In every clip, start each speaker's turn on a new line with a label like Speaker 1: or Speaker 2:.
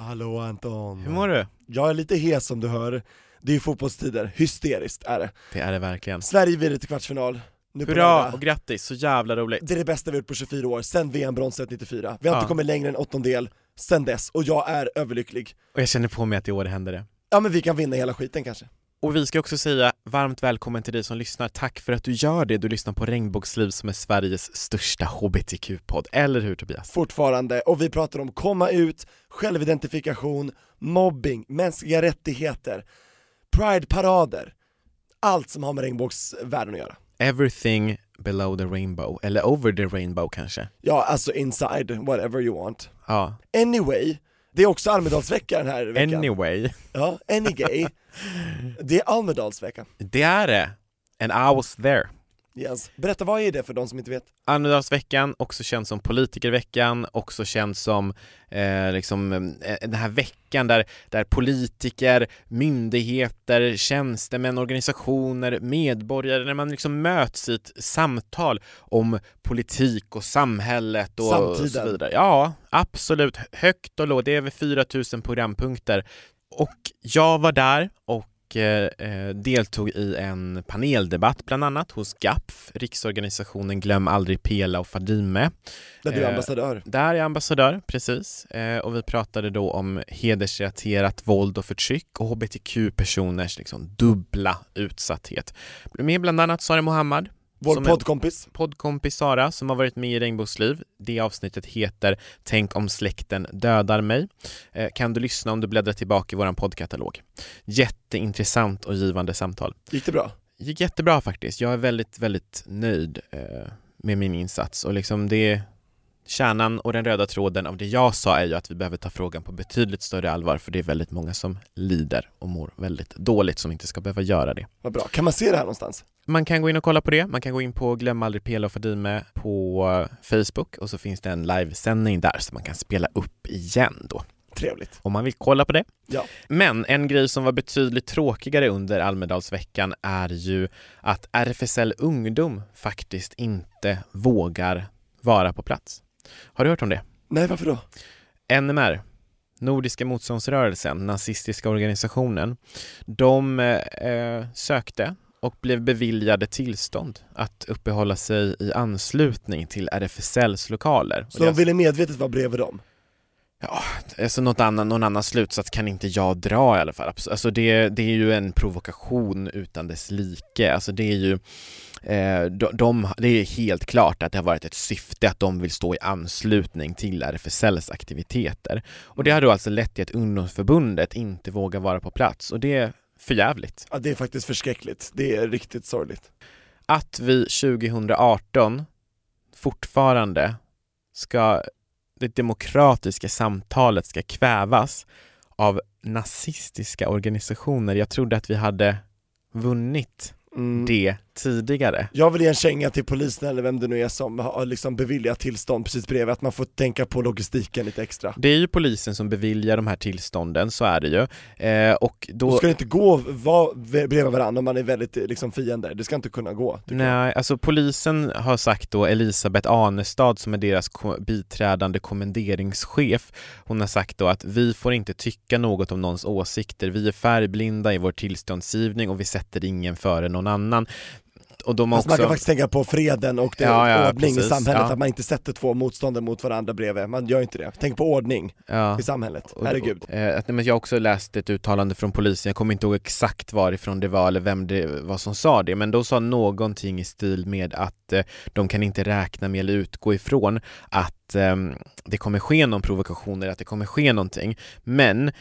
Speaker 1: Hallå Anton.
Speaker 2: Hur mår du?
Speaker 1: Jag är lite hes som du hör. Det är ju fotbollstider, hysteriskt är det.
Speaker 2: Det är det verkligen.
Speaker 1: Sverige vidare till kvartsfinal. Nu på
Speaker 2: Hurra
Speaker 1: lördag.
Speaker 2: och grattis, så jävla roligt.
Speaker 1: Det är det bästa vi gjort på 24 år, sen VM-bronset 94. Vi har
Speaker 2: Ja.
Speaker 1: inte kommit längre än åttondel sen dess, och jag är överlycklig.
Speaker 2: Och jag känner på mig att i år händer det.
Speaker 1: Ja men vi kan vinna hela skiten kanske.
Speaker 2: Och vi ska också säga varmt välkommen till dig som lyssnar. Tack för att du gör det. Du lyssnar på Regnbågsliv som är Sveriges största hbtq-podd. Eller hur Tobias?
Speaker 1: Fortfarande, och vi pratar om komma ut, självidentifikation, mobbing, mänskliga rättigheter, pride-parader, allt som har med regnbågsvärlden att göra.
Speaker 2: Everything below the rainbow, eller over the rainbow kanske.
Speaker 1: Ja, alltså inside, whatever you want.
Speaker 2: Ja,
Speaker 1: Anyway, det är också Almedalsvecka den här veckan.
Speaker 2: anyway.
Speaker 1: Ja, any gay. Det är Almedalsveckan.
Speaker 2: Det är det! And I was there.
Speaker 1: Yes. Berätta, vad är det för de som inte vet?
Speaker 2: Almedalsveckan, också känd som politikerveckan, också känd som eh, liksom, eh, den här veckan där, där politiker, myndigheter, tjänstemän, organisationer, medborgare, när man liksom möts i ett samtal om politik och samhället och, och så
Speaker 1: Samtiden.
Speaker 2: vidare. Ja, absolut. Högt och lågt. Det är över 4000 programpunkter. Och jag var där och och eh, eh, deltog i en paneldebatt bland annat hos GAPF, Riksorganisationen Glöm aldrig Pela och Fadime.
Speaker 1: Där du är
Speaker 2: Eh,
Speaker 1: ambassadör.
Speaker 2: Där är jag ambassadör, precis. Eh, och vi pratade då om hedersrelaterat våld och förtryck och hbtq-personers liksom dubbla utsatthet. Med bland annat Sara Mohammad,
Speaker 1: Vår
Speaker 2: som är-
Speaker 1: poddkompis.
Speaker 2: poddkompis Sara som har varit med i Regnbågsliv. Det avsnittet heter Tänk om släkten dödar mig. Eh, Kan du lyssna om du bläddrar tillbaka i vår poddkatalog. Jätteintressant och givande samtal.
Speaker 1: Gick det bra?
Speaker 2: gick jättebra faktiskt. Jag är väldigt, väldigt nöjd eh, med min insats och liksom det Kärnan och den röda tråden av det jag sa är ju att vi behöver ta frågan på betydligt större allvar för det är väldigt många som lider och mår väldigt dåligt som inte ska behöva göra det.
Speaker 1: Vad bra. Kan man se det här någonstans?
Speaker 2: Man kan gå in och kolla på det. Man kan gå in på Glöm aldrig Pela och Fadime på eh, Facebook och så finns det en livesändning där som man kan spela upp igen då
Speaker 1: Trevligt.
Speaker 2: om man vill kolla på det.
Speaker 1: Ja.
Speaker 2: Men en grej som var betydligt tråkigare under Almedalsveckan är ju att RFSL Ungdom faktiskt inte vågar vara på plats. Har du hört om det?
Speaker 1: Nej, varför då?
Speaker 2: NMR, Nordiska motståndsrörelsen, nazistiska organisationen, de eh, eh, sökte och blev beviljade tillstånd att uppehålla sig i anslutning till RFSLs lokaler.
Speaker 1: Så
Speaker 2: Och jag-
Speaker 1: de ville medvetet vara bredvid dem?
Speaker 2: Alltså något annan, någon annan slutsats kan inte jag dra i alla fall. Abs- Alltså det, det är ju en provokation utan dess like. Alltså det är ju, eh, de, de, det är helt klart att det har varit ett syfte att de vill stå i anslutning till RFSLs aktiviteter. Och det har då alltså lett till att ungdomsförbundet inte vågar vara på plats och det är förjävligt.
Speaker 1: Ja, det är faktiskt förskräckligt. Det är riktigt sorgligt.
Speaker 2: Att vi 2018 fortfarande ska, det demokratiska samtalet ska kvävas av nazistiska organisationer. Jag trodde att vi hade vunnit
Speaker 1: Mm.
Speaker 2: det tidigare.
Speaker 1: Jag vill ge en känga till polisen eller vem det nu är som har liksom beviljat tillstånd precis bredvid, att man får tänka på logistiken lite extra.
Speaker 2: Det är ju polisen som beviljar de här tillstånden, så är det ju. Eh, och
Speaker 1: Då
Speaker 2: då...
Speaker 1: ska det inte gå att vara bredvid varandra om man är väldigt eh, liksom, fiender, det ska inte kunna gå. tycker jag.
Speaker 2: Nej, alltså polisen har sagt då Elisabeth Anestad som är deras ko- biträdande kommenderingschef, hon har sagt då att vi får inte tycka något om någons åsikter, vi är färgblinda i vår tillståndsgivning och vi sätter ingen före någon annan. Och de har
Speaker 1: Fast Alltså, man kan
Speaker 2: också...
Speaker 1: faktiskt tänka på freden och det
Speaker 2: Ja, ja,
Speaker 1: ordning
Speaker 2: precis.
Speaker 1: i samhället,
Speaker 2: Ja.
Speaker 1: att man inte sätter två motståndare mot varandra bredvid, man gör inte det. Tänk på ordning
Speaker 2: Ja.
Speaker 1: i samhället,
Speaker 2: Och-
Speaker 1: herregud.
Speaker 2: och- Eh, att, nej, men jag har också läst ett uttalande från polisen, jag kommer inte ihåg exakt varifrån det var eller vem det var som sa det, men de sa någonting i stil med att eh, de kan inte räkna med eller utgå ifrån att ehm, det kommer ske någon provokation eller att det kommer ske någonting. Men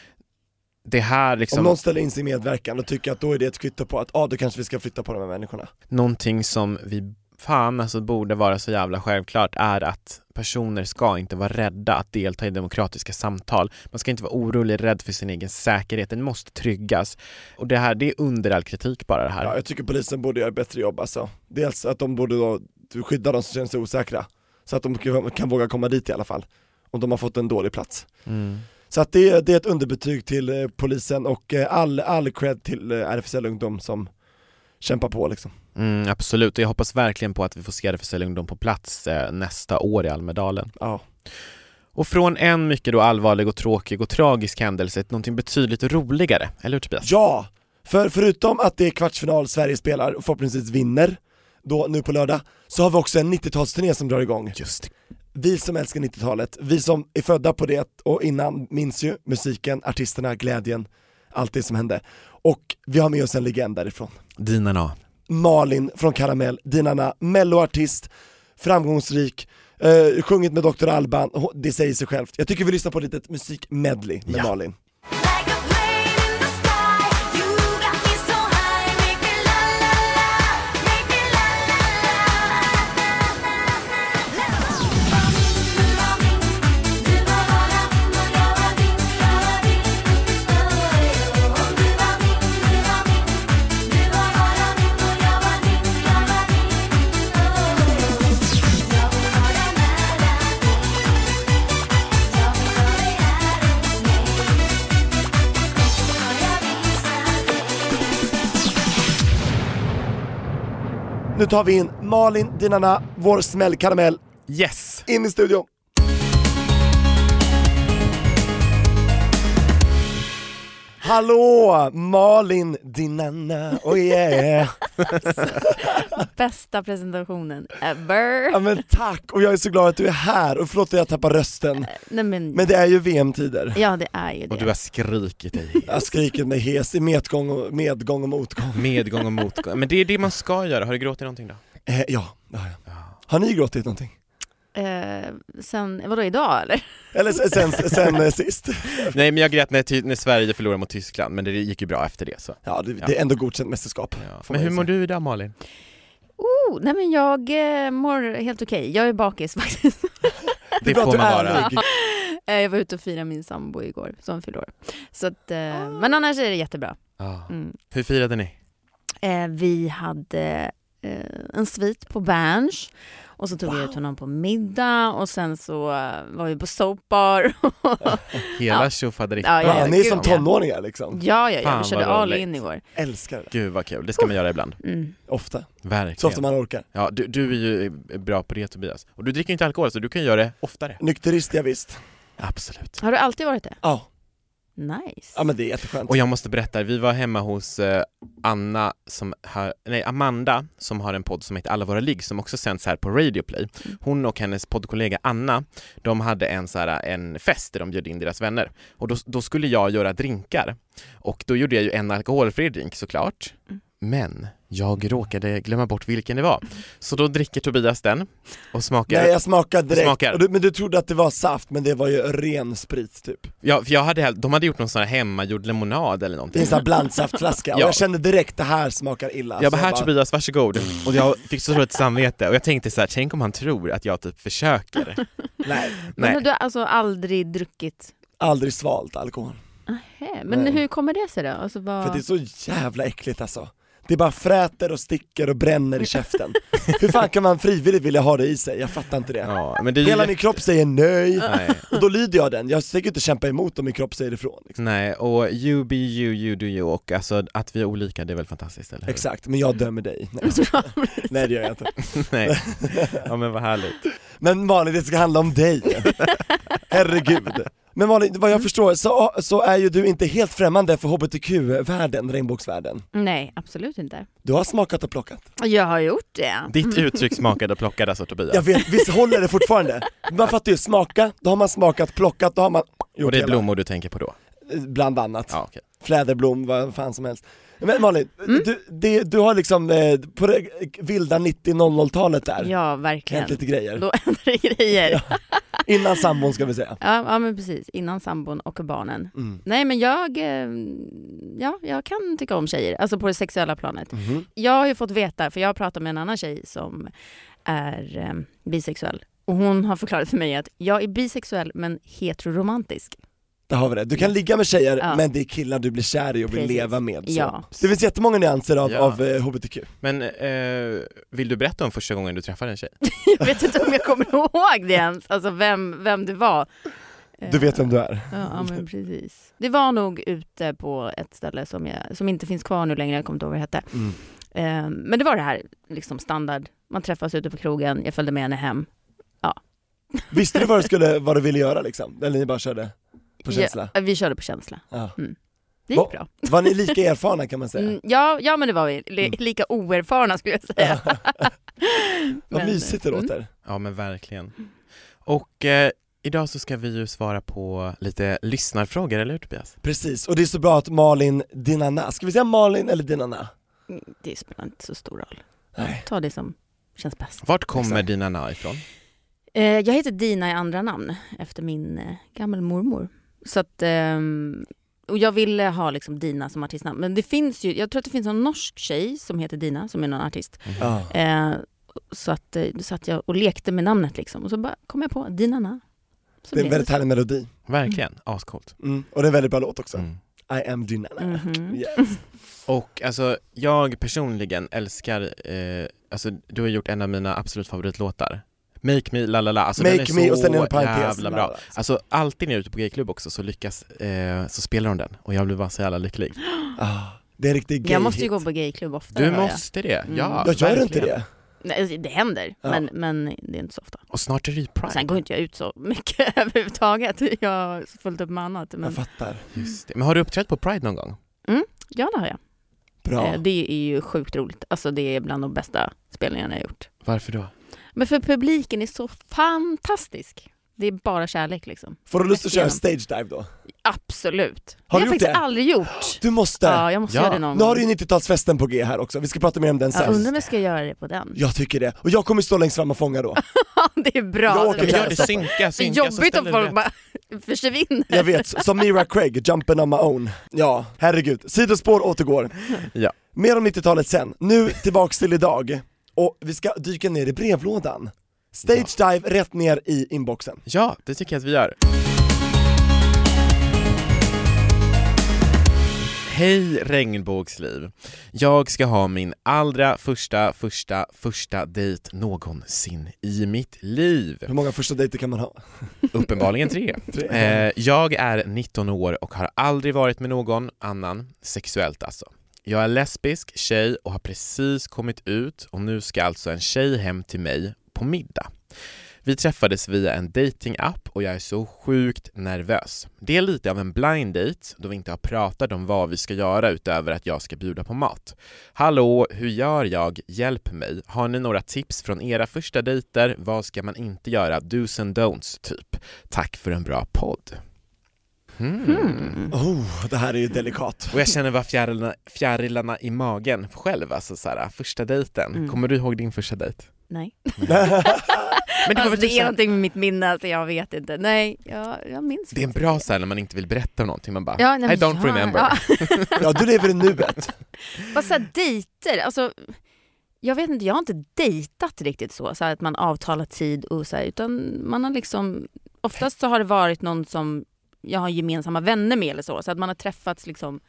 Speaker 2: det här liksom...
Speaker 1: Om någon ställer in sin medverkan och tycker att då är det ett kvitto på att ah, då kanske vi ska flytta på de här människorna.
Speaker 2: någonting som vi fan alltså borde vara så jävla självklart är att personer ska inte vara rädda att delta i demokratiska samtal. Man ska inte vara orolig, rädd för sin egen säkerhet. Den måste tryggas. Och det här, det är under all kritik bara det här.
Speaker 1: Ja, jag tycker polisen borde göra ett bättre jobb alltså. Dels att de borde då skydda de som känner sig osäkra, så att de kan- kan våga komma dit i alla fall, om de har fått en dålig plats.
Speaker 2: Mm.
Speaker 1: Så att det, det är ett underbetyg till eh, polisen och eh, all, all cred till eh, RFSL Ungdom som kämpar på liksom.
Speaker 2: Mm, absolut, och jag hoppas verkligen på att vi får se RFSL Ungdom på plats eh, nästa år i Almedalen.
Speaker 1: Ja.
Speaker 2: Och från en mycket då allvarlig och tråkig och tragisk händelse till någonting betydligt roligare, eller hur Tobias?
Speaker 1: Ja! För förutom att det är kvartsfinal Sverige spelar och förhoppningsvis vinner, då nu på lördag, så har vi också en 90-talsturné som drar igång.
Speaker 2: Just det.
Speaker 1: Vi som älskar 90-talet, vi som är födda på det och innan minns ju musiken, artisterna, glädjen, allt det som hände. Och vi har med oss en legend därifrån.
Speaker 2: Dinarna.
Speaker 1: Malin från Karamell, Dinarna, melloartist, framgångsrik, eh, sjungit med Dr. Alban, Hon- det säger sig självt. Jag tycker vi lyssnar på ett litet musikmedley med
Speaker 2: Ja.
Speaker 1: Malin.
Speaker 3: Like a plane in the sky, you got me so high, make me la la la, make me la la
Speaker 1: Nu tar vi in Malin, Dinarna, vår smäll Karamell,
Speaker 2: Yes!
Speaker 1: in i studion. Hallå! Malin Dinarna, oh yeah!
Speaker 4: Bästa presentationen ever.
Speaker 1: ja, men tack, och jag är så glad att du är här, och förlåt att jag tappar rösten,
Speaker 4: Nej men,
Speaker 1: men det är ju VM-tider.
Speaker 4: ja det är ju
Speaker 2: Och
Speaker 4: det.
Speaker 2: du har skrikit dig
Speaker 1: Jag skriker mig hes i medgång och, medgång och motgång.
Speaker 2: medgång och motgång. Men det är det man ska göra. Har du gråtit någonting då?
Speaker 1: Eh, ja, det har jag. Har ni gråtit någonting?
Speaker 4: Eh, sen, vadå idag eller?
Speaker 1: Eller sen, sen, sen eh, sist?
Speaker 2: Nej, men jag grät när, ty- när Sverige förlorade mot Tyskland, men det gick ju bra efter det så.
Speaker 1: Ja, det,
Speaker 2: Ja.
Speaker 1: det är ändå godkänt mästerskap.
Speaker 2: Ja.
Speaker 1: Får
Speaker 2: Men
Speaker 1: man
Speaker 2: hur
Speaker 1: ju
Speaker 2: mår
Speaker 1: säga.
Speaker 2: du idag Malin?
Speaker 4: Oh, nej men jag eh, mår helt okej. Jag är bakis faktiskt.
Speaker 2: Det,
Speaker 1: är bra att
Speaker 2: får
Speaker 1: du
Speaker 2: man
Speaker 1: är
Speaker 2: vara.
Speaker 1: ärlig.
Speaker 4: Eh, jag var ute och firade min sambo igår som fyllde år. Så att, eh, men annars är det jättebra.
Speaker 2: Ja.
Speaker 4: Mm.
Speaker 2: Hur firade ni?
Speaker 4: Eh, vi hade eh, en svit på Berns och så tog vi ut honom på middag och sen så eh, var vi på soapbar.
Speaker 2: Hela
Speaker 4: Ja.
Speaker 2: tjofaderittan.
Speaker 4: Ja,
Speaker 1: Ja,
Speaker 4: ja,
Speaker 1: ni är som
Speaker 4: gud, ja.
Speaker 1: tonåringar liksom.
Speaker 4: ja, ja, ja,
Speaker 2: Fan,
Speaker 4: vi körde
Speaker 2: vad
Speaker 4: all
Speaker 2: roligt.
Speaker 4: in igår.
Speaker 1: Älskar det.
Speaker 2: Gud vad kul, det ska man göra ibland.
Speaker 4: Mm.
Speaker 1: Ofta. Så ofta
Speaker 2: Verkligen.
Speaker 1: man orkar.
Speaker 2: Ja, du, du är ju bra på det Tobias. Och du dricker ju inte alkohol så du kan göra det oftare.
Speaker 1: Nykterist, ja, visst.
Speaker 2: Absolut.
Speaker 4: Har du alltid varit det?
Speaker 1: Ja,
Speaker 4: Nice.
Speaker 1: ja men det är jätteskönt.
Speaker 2: Och jag måste berätta, vi var hemma hos eh, Anna som har, nej, Amanda som har en podd som heter Alla våra ligg som också sänds här på Radio Play. Hon och hennes poddkollega Anna, de hade en, så här, en fest där de bjöd in deras vänner och då, då skulle jag göra drinkar och då gjorde jag ju en alkoholfri drink såklart. Men jag råkade glömma bort vilken det var. Så då dricker Tobias den och smakar.
Speaker 1: Nej jag smakade direkt,
Speaker 2: Smakar.
Speaker 1: Och du, men du trodde att det var saft men det var ju ren sprit typ.
Speaker 2: Ja, för jag hade, helt- de hade gjort någon sån här hemmagjord lemonad eller
Speaker 1: Det är
Speaker 2: någonting.
Speaker 1: en sån här blandsaftflaska, och
Speaker 2: Ja.
Speaker 1: jag kände direkt det här smakar illa.
Speaker 2: Jag
Speaker 1: Så
Speaker 2: bara, här Tobias, varsågod.
Speaker 1: Mm.
Speaker 2: Och jag fick så dåligt samvete och jag tänkte så här, tänk om han tror att jag typ försöker.
Speaker 1: nej,
Speaker 4: Men
Speaker 2: Nej.
Speaker 4: du har alltså aldrig druckit?
Speaker 1: aldrig svalt alkohol.
Speaker 4: Nähä, Men
Speaker 1: Nej.
Speaker 4: hur kommer det sig då? Alltså vad...
Speaker 1: För det är så jävla äckligt alltså. Det bara fräter och sticker och bränner i käften. Hur fan kan man frivilligt vilja ha det i sig? Jag fattar inte det.
Speaker 2: Ja, men det är ju
Speaker 1: Hela
Speaker 2: jätte-
Speaker 1: min kropp säger nej,
Speaker 2: Nej.
Speaker 1: och då lyder jag den. Jag tänker inte kämpa emot om min kropp säger ifrån. Liksom.
Speaker 2: Nej, och you be you, you do you och alltså att vi är olika det är väl fantastiskt eller hur?
Speaker 1: Exakt, men jag dömer dig. Nej, jag skojar. nej det gör jag inte.
Speaker 2: Nej. Ja men vad härligt.
Speaker 1: Men Malin, det ska handla om dig. Herregud. Men Malin, vad jag förstår så, så är ju du inte helt främmande för hbtq-världen, regnbågsvärlden.
Speaker 4: Nej, absolut inte.
Speaker 1: Du har smakat och plockat.
Speaker 4: Jag har gjort det.
Speaker 2: Ditt uttryck smakade och plockade alltså
Speaker 1: Jag
Speaker 2: Tobias.
Speaker 1: vet, visst håller det fortfarande? Man fattar ju, smaka, då har man smakat, plockat, då har man gjort
Speaker 2: Och det är
Speaker 1: hela.
Speaker 2: blommor du tänker på då?
Speaker 1: Bland annat.
Speaker 2: Ja okej.
Speaker 1: Fläderblom, vad fan som helst. Men Malin,
Speaker 4: Mm.
Speaker 1: du, det, du har liksom eh, på det vilda 90-00-talet där,
Speaker 4: Ja,
Speaker 1: hänt
Speaker 4: verkligen.
Speaker 1: lite grejer.
Speaker 4: Då händer det grejer.
Speaker 1: Innan sambon ska vi säga.
Speaker 4: Ja, ja, men precis. Innan sambon och barnen.
Speaker 1: Mm.
Speaker 4: Nej, men jag, eh, ja, jag kan tycka om tjejer, alltså på det sexuella planet.
Speaker 1: Mhm.
Speaker 4: Jag har ju fått veta, för jag har pratat med en annan tjej som är eh, bisexuell. Och hon har förklarat för mig att jag är bisexuell men heteroromantisk.
Speaker 1: Där har vi det. Du kan ligga med tjejer,
Speaker 4: Ja.
Speaker 1: men det är killar du blir kär i och vill
Speaker 4: Precis.
Speaker 1: leva med. Så.
Speaker 4: Ja.
Speaker 1: Det finns jättemånga nyanser av,
Speaker 2: Ja.
Speaker 1: av eh, HBTQ.
Speaker 2: Men eh, vill du berätta om första gången du träffade en tjej?
Speaker 4: Jag vet inte om jag kommer ihåg det ens, alltså vem, vem det var. Eh.
Speaker 1: Du vet vem du är.
Speaker 4: Ja, ja, men precis. Det var nog ute på ett ställe som, jag, som inte finns kvar nu längre, jag kommer inte ihåg vad det hette.
Speaker 1: Mm.
Speaker 4: Eh, men det var det här, liksom standard. Man träffas ute på krogen, jag följde med henne hem.
Speaker 1: Visste du vad du, skulle, vad du ville göra liksom? Eller ni bara körde på känsla?
Speaker 4: Ja, vi körde på känsla.
Speaker 1: Ja.
Speaker 4: Det gick
Speaker 1: Va-
Speaker 4: bra.
Speaker 1: Var ni lika erfarna kan man säga?
Speaker 4: Mm, ja, ja, men det var vi. Li-
Speaker 1: Mm.
Speaker 4: Lika oerfarna skulle jag säga.
Speaker 1: Vad
Speaker 4: men- mm.
Speaker 1: mysigt det låter.
Speaker 2: Ja men verkligen.
Speaker 1: Mm.
Speaker 2: Och eh, idag så ska vi ju svara på lite lyssnarfrågor, eller hur Tobias?
Speaker 1: Precis, och det är så bra att Malin Dinana, ska vi säga Malin eller Dinana?
Speaker 4: Mm, Det spelar inte så stor roll.
Speaker 1: Nej.
Speaker 4: Ta det som känns bäst.
Speaker 2: Vart kommer
Speaker 1: Exakt.
Speaker 2: dina na ifrån?
Speaker 4: Eh, jag heter Dina i andra namn efter min eh, gammelmormor. Så att, ehm, och jag ville ha liksom Dina som artistnamn. Men det finns ju, jag tror att det finns en norsk tjej som heter Dina som är någon artist.
Speaker 1: Ja.
Speaker 4: Eh, så att, eh, då satt jag och lekte med namnet liksom. Och så bara kom jag på Dina Na. Så
Speaker 1: Det är en
Speaker 4: blev
Speaker 1: väldigt härlig melodi,
Speaker 2: Verkligen, ascoolt.
Speaker 1: mm. och det är en väldigt bra låt också.
Speaker 2: Mm.
Speaker 1: I am Dinana.
Speaker 4: Mhm.
Speaker 1: Yes.
Speaker 2: Och alltså, jag personligen älskar, eh, alltså du har gjort en av mina absolut favoritlåtar. Make me la la la, alltså den
Speaker 1: Make
Speaker 2: är
Speaker 1: me
Speaker 2: så
Speaker 1: och sen en parentes.
Speaker 2: jävla bra. Alltså alltid när jag är ute på gayklubb också så lyckas, eh, så spelar de den och jag blir bara så jävla lycklig.
Speaker 1: Ah, det är en riktig gay
Speaker 4: Jag måste ju
Speaker 1: hit.
Speaker 4: gå på gayklubb oftare.
Speaker 2: Du
Speaker 4: hör jag.
Speaker 2: måste det,
Speaker 4: Mm.
Speaker 2: ja.
Speaker 1: Jag gör inte
Speaker 2: verkligen.
Speaker 1: det.
Speaker 4: Nej, det händer,
Speaker 1: Ja.
Speaker 4: men, men det är inte så ofta.
Speaker 2: Och snart är det ju
Speaker 4: Och sen
Speaker 2: Pride.
Speaker 4: går inte jag ut så mycket överhuvudtaget. Jag har fullt upp med annat.
Speaker 1: Jag
Speaker 4: Men...
Speaker 1: fattar.
Speaker 2: Just det. Men har du uppträtt på Pride någon gång?
Speaker 4: Ja, det har jag.
Speaker 1: Bra.
Speaker 4: Eh, Det är ju sjukt roligt. Alltså det är bland de bästa spelningarna jag har gjort.
Speaker 2: Varför då?
Speaker 4: Men för publiken är så fantastisk. Det är bara kärlek liksom.
Speaker 1: Får du lust att köra
Speaker 4: Igenom.
Speaker 1: stage dive då?
Speaker 4: Absolut.
Speaker 1: Har
Speaker 4: det har jag
Speaker 1: du gjort
Speaker 4: faktiskt
Speaker 1: det?
Speaker 4: aldrig gjort.
Speaker 1: Du måste!
Speaker 4: Ja, jag måste
Speaker 2: Ja.
Speaker 4: göra det någon
Speaker 1: Nu har du
Speaker 4: gång.
Speaker 1: ju 90-talsfesten på G här också, vi ska prata mer om den
Speaker 4: Jag undrar
Speaker 1: sen.
Speaker 4: om jag ska göra det på den.
Speaker 1: Jag tycker det, och jag kommer stå längst fram och fånga då.
Speaker 4: det är bra.
Speaker 1: Jag
Speaker 4: Det
Speaker 1: åker
Speaker 2: Gör
Speaker 4: är
Speaker 2: det,
Speaker 1: Stoppa.
Speaker 4: så
Speaker 2: synka, synka så
Speaker 4: jobbigt
Speaker 2: ställer
Speaker 4: om
Speaker 2: du
Speaker 4: folk
Speaker 2: det.
Speaker 4: bara försvinner.
Speaker 1: Jag vet, som Mira Craig, Jumpin' on my own. Ja, herregud. Sidospår återgår.
Speaker 2: Ja.
Speaker 1: Mer om 90-talet sen. Nu tillbaks till idag. Och vi ska dyka ner i brevlådan. Stage dive rätt ner i inboxen.
Speaker 2: Ja, det tycker jag att vi gör. Hej regnbågsliv! Jag ska ha min allra första, första, första dejt någonsin i mitt liv.
Speaker 1: Hur många första dejter kan man ha?
Speaker 2: Uppenbarligen tre.
Speaker 1: Tre.
Speaker 2: Eh, jag är 19 år och har aldrig varit med någon annan, sexuellt alltså. Jag är lesbisk tjej och har precis kommit ut och nu ska alltså en tjej hem till mig på middag. Vi träffades via en datingapp och jag är så sjukt nervös. Det är lite av en blind date då vi inte har pratat om vad vi ska göra utöver att jag ska bjuda på mat. Hallå, hur gör jag? Hjälp mig. Har ni några tips från era första dejter? Vad ska man inte göra? Do's and don'ts, typ. Tack för en bra podd. Hmm.
Speaker 1: Oh, det här är ju delikat.
Speaker 2: Och jag känner bara fjärilarna, fjärilarna i magen själv, alltså så här, första dejten.
Speaker 4: Mm.
Speaker 2: Kommer du ihåg din första dejt?
Speaker 4: Nej.
Speaker 2: Men det, var
Speaker 4: Alltså,
Speaker 2: väl
Speaker 4: det
Speaker 2: typ så
Speaker 4: är
Speaker 2: här,
Speaker 4: någonting med mitt minne, alltså, jag vet inte. Nej, jag, jag minns
Speaker 2: det är en
Speaker 4: faktiskt
Speaker 2: bra
Speaker 4: inte.
Speaker 2: så här, när man inte vill berätta om någonting, man bara
Speaker 4: Ja, nej,
Speaker 2: I
Speaker 4: men
Speaker 2: don't
Speaker 4: ja,
Speaker 2: remember.
Speaker 4: ja.
Speaker 1: Ja, du lever i nuet.
Speaker 4: Vad så här, dejter, alltså jag vet inte, jag har inte dejtat riktigt så, så här, att man avtalar tid och så här, utan man har liksom, oftast så har det varit någon som jag har gemensamma vänner med eller så, så att man har träffats liksom